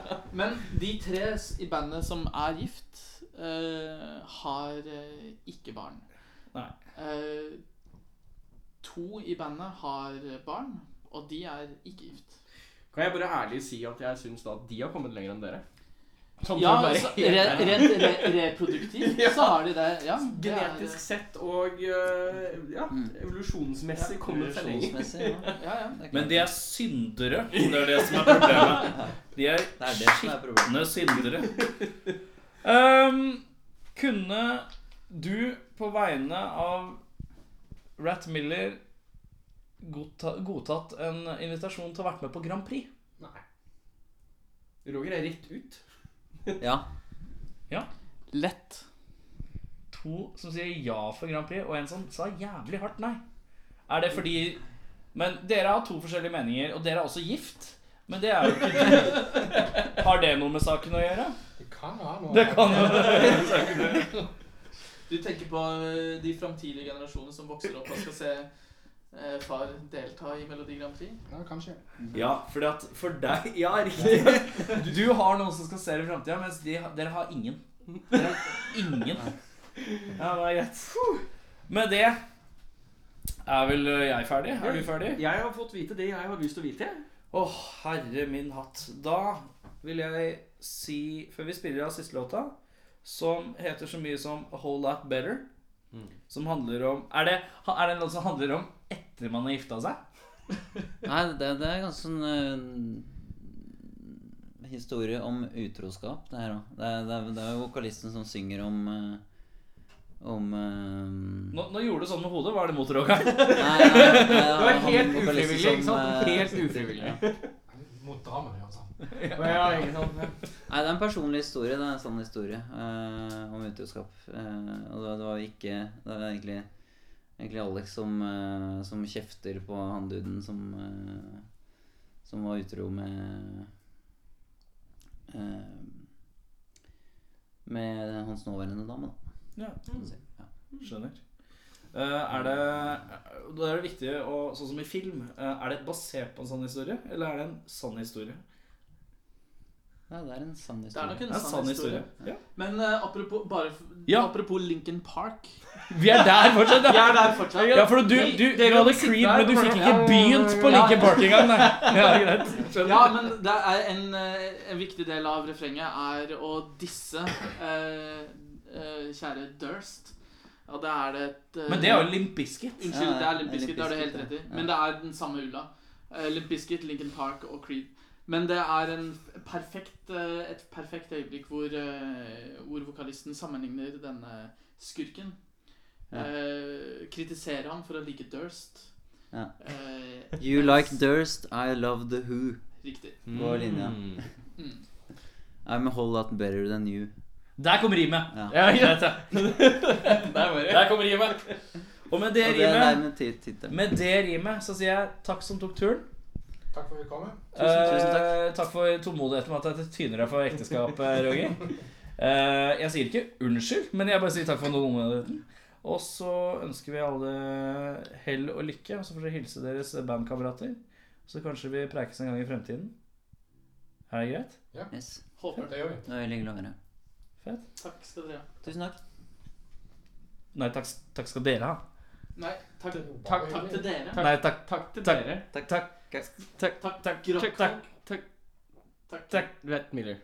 Men de tre s- i bandet som er gift, eh, har eh, ikke barn. Nei. Eh, to i bandet har barn, og de er ikke gift. Kan jeg bare ærlig si at jeg syns da at de har kommet lenger enn dere? Sånn Ja, for å være altså, helt re, ærlig. rent re, reproduktivt så har de det. Ja, det er- Genetisk sett og øh, ja, Mm. evolusjonsmessig kommet seg lenger. Ja. Ja, Det ja. er klart. Men de er syndere. Det er det som er problemet. De er Det er det som er problemet. skitne syndere. Ehm, kunne du på vegne av Rat Miller godta, godtatt en invitasjon til å ha vært med på Grand Prix? Roger er rett ut. Ja. Lett. to som sier ja for Grand Prix, og en som sa jævlig hardt nei. Er det fordi Men dere har to forskjellige meninger, og dere er også gift. Men det er jo ikke Har det noe med saken å gjøre? Det kan ha noe Det kan jo det. Du tenker på eh, de framtidige generasjonene som vokser opp og skal se eh, far delta i Melodi Grand Prix? Ja, kanskje. Ja, fordi at for deg Ja, riktig. Du har noen som skal se det i framtida, mens de, dere har ingen. Dere har ingen. Ja, det er greit. Med det er vel eh, jeg ferdig? Er du ferdig? Jeg har fått vite det jeg har lyst til å vite. Åh, herre min hatt. Da vil jeg si, før vi spiller av siste låta, som heter så mye som A Whole Lot Better, som handler om Er det, er det en låt som handler om etter man har gifta seg? Nei, det, det er ganske sånn eh, Historie om utroskap, det her òg. Det, er- det, er- det er jo vokalisten som synger om eh, Om eh, Nå, nå gjorde du sånn med hodet. Var det mot Roger? Nei, nei, nei, Det var han- han helt vokalisten ufrivillig, som, ikke sant? eh, Helt ufrivillig. Ja. Mot Drammen, altså. Nei, det er en personlig historie. Det er en sann historie eh, om utroskap. Eh, og det, var- det var jo ikke Det var egentlig, egentlig Alex som, eh, som kjefter på han duden som eh, Som var utro med eh, Med hans nåværende dame, da. Ja, kan du si. Ja. skjønner. Eh, er det Da er det viktig, å, sånn som i film, eh, er det basert på en sann historie, eller er det en sann historie? Nei, det er en sann Det er nok historie. en Det er sann historie. Ja. Men eh, apropos, bare, f- Ja. apropos Lincoln Park Vi er der fortsatt, Vi er der fortsatt. Ja, for du, du, du hadde Creed, men du fikk ikke begynt på Linkin Park engang. nei. Ja, greit. Skjønner. Ja, men det er en, eh, en viktig del av refrenget er å disse eh, eh, kjære Durst. Og det er det et eh, Men det er jo Limp Bizkit. Unnskyld, Ja, det er det Limp er Bizkit, det har du Limp helt Bizkit, rett i. ja. Men det er den samme ulla. Eh, Limp Bizkit, Lincoln Park og Creed. Men det er en perfekt, eh, et perfekt øyeblikk hvor, eh, hvor vokalisten sammenligner denne skurken. Ja. Eh, kritiserer ham for å like Durst. Ja. Eh, You like Durst, I love the Who. Riktig. På linja. Mm. I'm a whole lot better than you. Der kom rimet. Ja. Ja, greit, ja. Der kom rimet. Og med det Og det er rimet, nærmest tit- tittelen. med det rimet så sier jeg takk som tok turen. Takk for at vi kom. Tusen, tusen takk. Eh, takk for tålmodigheten med at jeg tyner deg for ekteskapet, Roger. Eh, jeg sier ikke unnskyld, men jeg bare sier takk for tålmodigheten. Og så ønsker vi alle hell og lykke, og så får dere hilse deres bandkamerater. Så kanskje vi preikes en gang i fremtiden. Er det greit? Yes. Håper Det gjør vi. Det var veldig hyggelig å være her. Takk skal dere ha. Tusen takk. Nei, takk, takk skal dere ha. Nei, takk, Takk, takk til dere. Nei, takk, takk til Takk. dere. takk, takk. Takk, takk, Takk, takk, takk, takk, takk. takk. Rett Miller.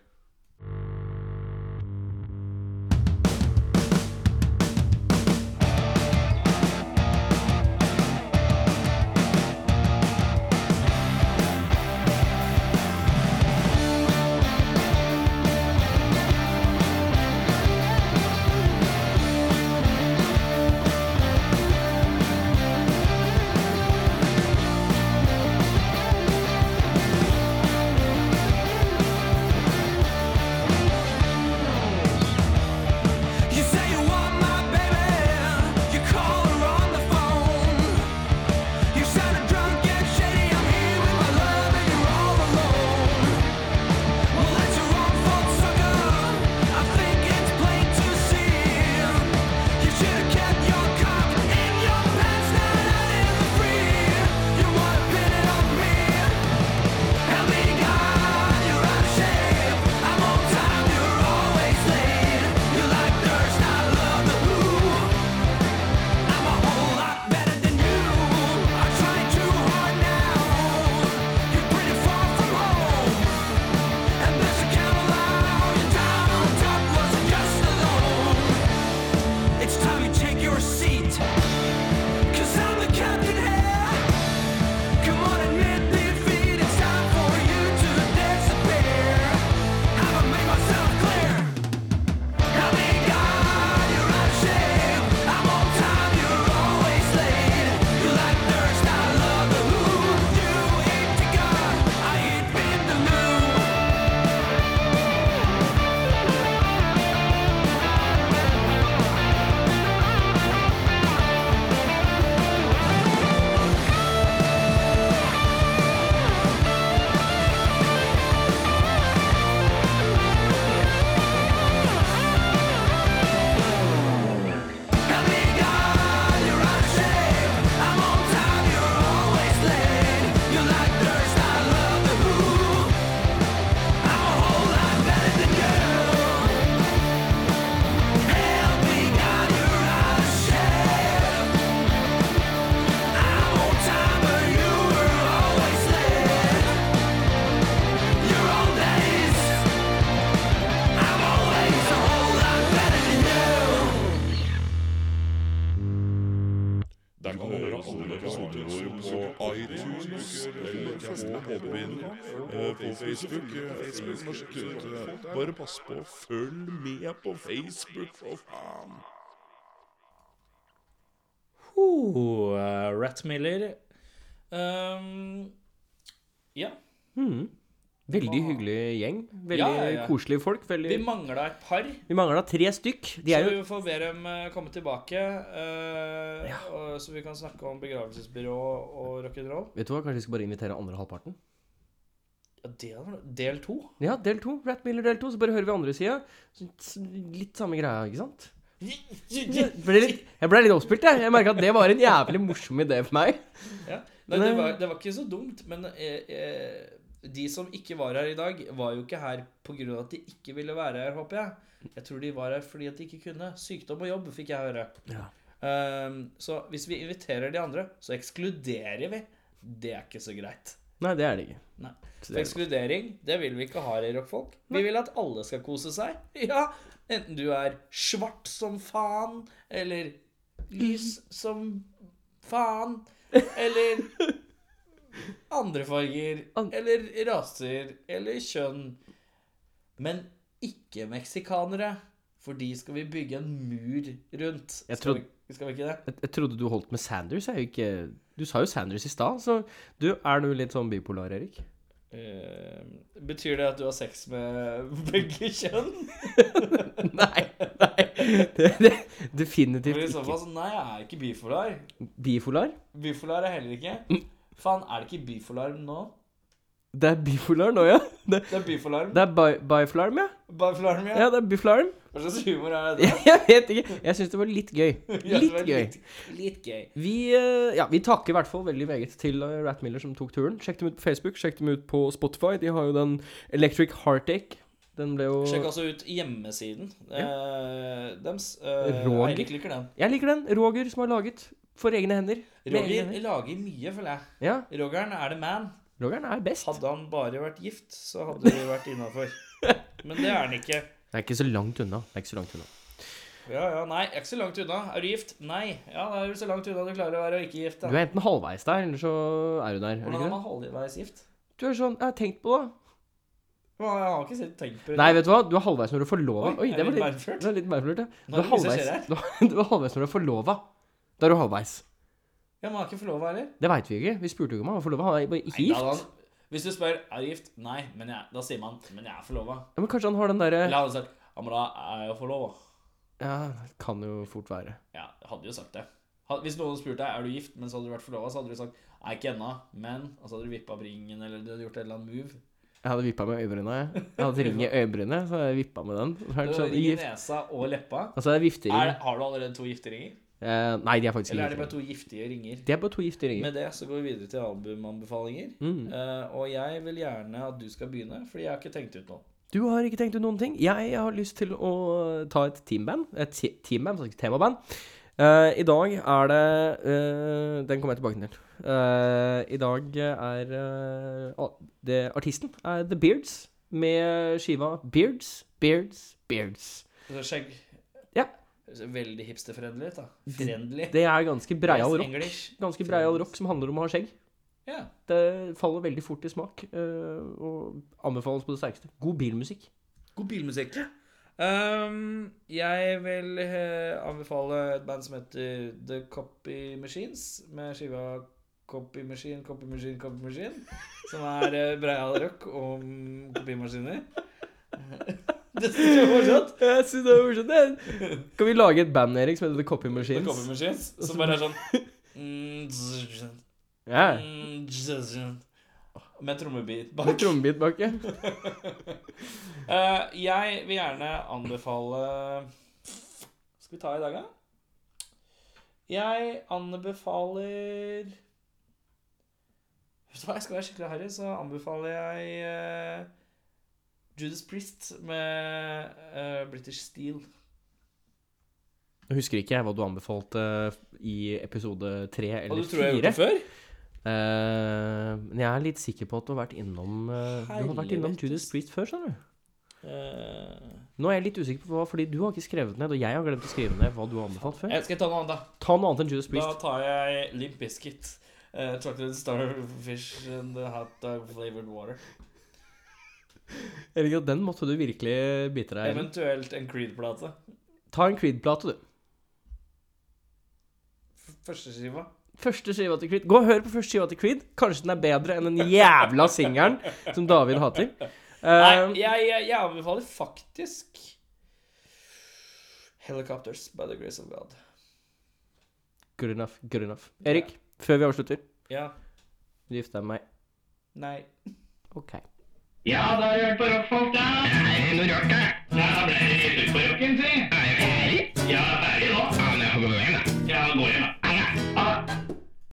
Der kan du høre alle episodene våre på iTunes eller på Podbean, eh, på Facebook. eh, Facebook må sjekke ut det. Bare pass på, følg med på Facebook, for faen! Oh, eh, Rattmiller. Ehm, ja. Mhm. Veldig hyggelig gjeng. Veldig Ja, ja, ja. koselige folk. Veldig... Vi mangla et par, Vi mangler da tre stykk. De så er jo vi får be dem eh, komme tilbake. eh, og, så vi kan snakke om begravelsesbyrå og rock'n'roll. Vet du hva, kanskje vi skal bare invitere andre halvparten? Ja, det var del to. Ja, del to. Ratmiller del to. Så bare hører vi andre sida. Litt samme greia, ikke sant? Jeg ble litt, jeg ble litt oppspilt, jeg. Jeg merka at det var en jævlig morsom idé for meg. Nei, det var, det var ikke så dumt, men eh, eh, de som ikke var her i dag, var jo ikke her pga. at de ikke ville være her, håper jeg. Jeg tror de var her fordi at de ikke kunne. Sykdom og jobb, fikk jeg høre. Ja. Ehm, så hvis vi inviterer de andre, så ekskluderer vi. Det er ikke så greit. Nei, det er det ikke. Nei. Så For det er bra. ekskludering, det vil vi ikke ha i rockfolk. Vi vil at alle skal kose seg. Ja, enten du er svart som faen, eller lys som faen, eller andre farger, An- eller raser, eller kjønn. Men ikke meksikanere, for de skal vi bygge en mur rundt. Jeg Skal trodde- vi, skal vi ikke det? jeg, jeg trodde du holdt med Sanders. Jeg er jo ikke Du sa jo Sanders i stad, så du, er du litt sånn bipolar, Erik? Eh, betyr det at du har sex med begge kjønn? Nei. nei. Det, det, definitivt For i så ikke. fall, så nei, jeg er ikke bifolar. Bipolar? Bifolar er heller ikke. Mm. Faen, er det ikke bifolarm nå? Det er bipolar nå, ja. Det, Det er bifolarm. det er bi- bifolarm, ja. Bifolarm, ja. Ja, det er bifolarm. Hva slags humor er det? Jeg vet ikke. Jeg syns det var litt gøy. Ja, det var Litt gøy. Litt, litt gøy. Vi, eh, ja, vi takker i hvert fall veldig meget til eh, Rat Miller som tok turen. Sjekk dem ut på Facebook, sjekk dem ut på Spotify. De har jo den Electric Heartache. Den ble jo Sjekk også ut hjemmesiden eh, dems. Eh, Roger. Eirik liker den. Jeg liker den. Roger som har laget for egne hender. Med egne Roger hender. lager mye, føler jeg. Ja, Rogeren er the man. Rogeren er best. Hadde han bare vært gift, så hadde vi vært innafor. Men det er han ikke. Det er ikke så langt unna. Det er ikke så langt unna. Ja, ja, nei, jeg er ikke så langt unna. Er du gift? Nei. Ja, da er du så langt unna du klarer å være og ikke gift, Du da. er enten halvveis der, eller så er du der. Er du Hvordan ikke er det? man halvveis gift? Du er sånn Jeg har tenkt på det. Jeg har ikke sett- tenkt på det. Nei, vet du hva? Du er halvveis når du er forlova. Oi, Oi, er det vi var litt, beinført? det var litt merflørt, ja. Du er Nå er det mye som halvveis, skjer her. du er- du er halvveis når du er forlova. Da er du halvveis. Ja, men han er ikke forlova heller. Det veit vi ikke. Vi spurte jo ikke om han var forlova. Han er bare ikke Nei, da gift. hadde han- Hvis du spør er du gift, nei, men jeg, da sier man men jeg er forlova. Ja, men kanskje han har den derre Eller hadde han sagt ja, men da er jeg jo forlova. Ja, det kan jo fort være. Ja, jeg hadde jo sagt det. Ha- Hvis noen spurte deg er du gift, men så hadde du vært forlova, så hadde du sagt nei, ikke ennå, men Og så hadde du vippa på ringen, eller du hadde gjort et eller annet move. Jeg hadde vippa med øyebryna. Jeg Jeg hadde ring i øyebrynet, så hadde jeg vippa med den. Og så er det Du hadde sånn, ring i gift. nesa og leppa. Og så er det Er, viftering. har du allerede to gifte ringer? Eh, nei, de er faktisk Eller ikke er det bare gifte. to giftige ringer? De er bare to gifte ringer. Med det så går vi videre til albumanbefalinger. Mm. Eh, og jeg vil gjerne at du skal begynne, fordi jeg har ikke tenkt ut noe. Du har ikke tenkt ut noen ting. Jeg har lyst til å ta et teamband. Et te- teamband, faktisk temaband. Eh, I dag er det eh, Den kommer jeg tilbake til. Eh, I dag er eh, ah, det, Artisten er The Beards med skiva Beards, Beards, Beards. Så skjegg Ja. Veldig hipsterfriendly, da. Friendly. Det er ganske breial Nice rock. English. Ganske breial rock som handler om å ha skjegg. Ja. Det faller veldig fort i smak, eh, og anbefales på det sterkeste. God bilmusikk. God bilmusikk. Ehm, jeg vil eh, anbefale et band som heter The Copy Machines, med skiva Copy Machine, Copy Machine, Copy Machine. Som er eh, breial rock om kopimaskiner. Det synes jeg er morsomt. Jeg synes det er morsomt. det. Kan vi lage et band, Erik, som heter The Copy The Machines? Copy Machines, som bare er sånn mm, zzz, Ja. mm, zzz, Med trommebeat bak. Med trommebit bak, ja. Eh, jeg vil gjerne anbefale Skal vi ta i dag, da? Jeg anbefaler Vet du hva, jeg skal være skikkelig harry, så anbefaler jeg eh, Judas Priest med eh, British Steel. Jeg husker ikke jeg hva du anbefalte eh, i episode tre Og eller du tror jeg har fire. gjort det før? Eh, men jeg er litt sikker på at du har vært innom eh, Du har vært innom Helvetes. Judas Priest før, skjønner du. Eh, Nå er jeg litt usikker på hva, fordi du har ikke skrevet ned, og jeg har glemt å skrive ned hva du har anbefalt før. jeg eh, skal ta noe annet, da. Ta noe annet enn Judas Da Priest. tar jeg Limp Biscuit. Uh, chocolate starfish and the hot dog flavored water. Eller, den måtte du virkelig bite deg i. Eventuelt en Creed-plate. Ta en Creed-plate, du. F- Førsteskiva. Første skiva til Creed. Gå og hør på første skiva til Creed. Kanskje den er bedre enn den jævla singelen som David hater. Nei, Eh, jeg, jeg, jeg anbefaler faktisk Helicopters by the grace of God. good enough, good enough. Erik, før vi avslutter, Ja. du gifter deg med meg. Nei. OK. Ja, da har du hørt på rockfolk, da. Er det noe rart, da? Ja, ble det litt ut på rocken, si. Er jeg ferdig? Ja, ferdig nå. Ja, men jeg får gå hjem, da. Ja, gå hjem, da.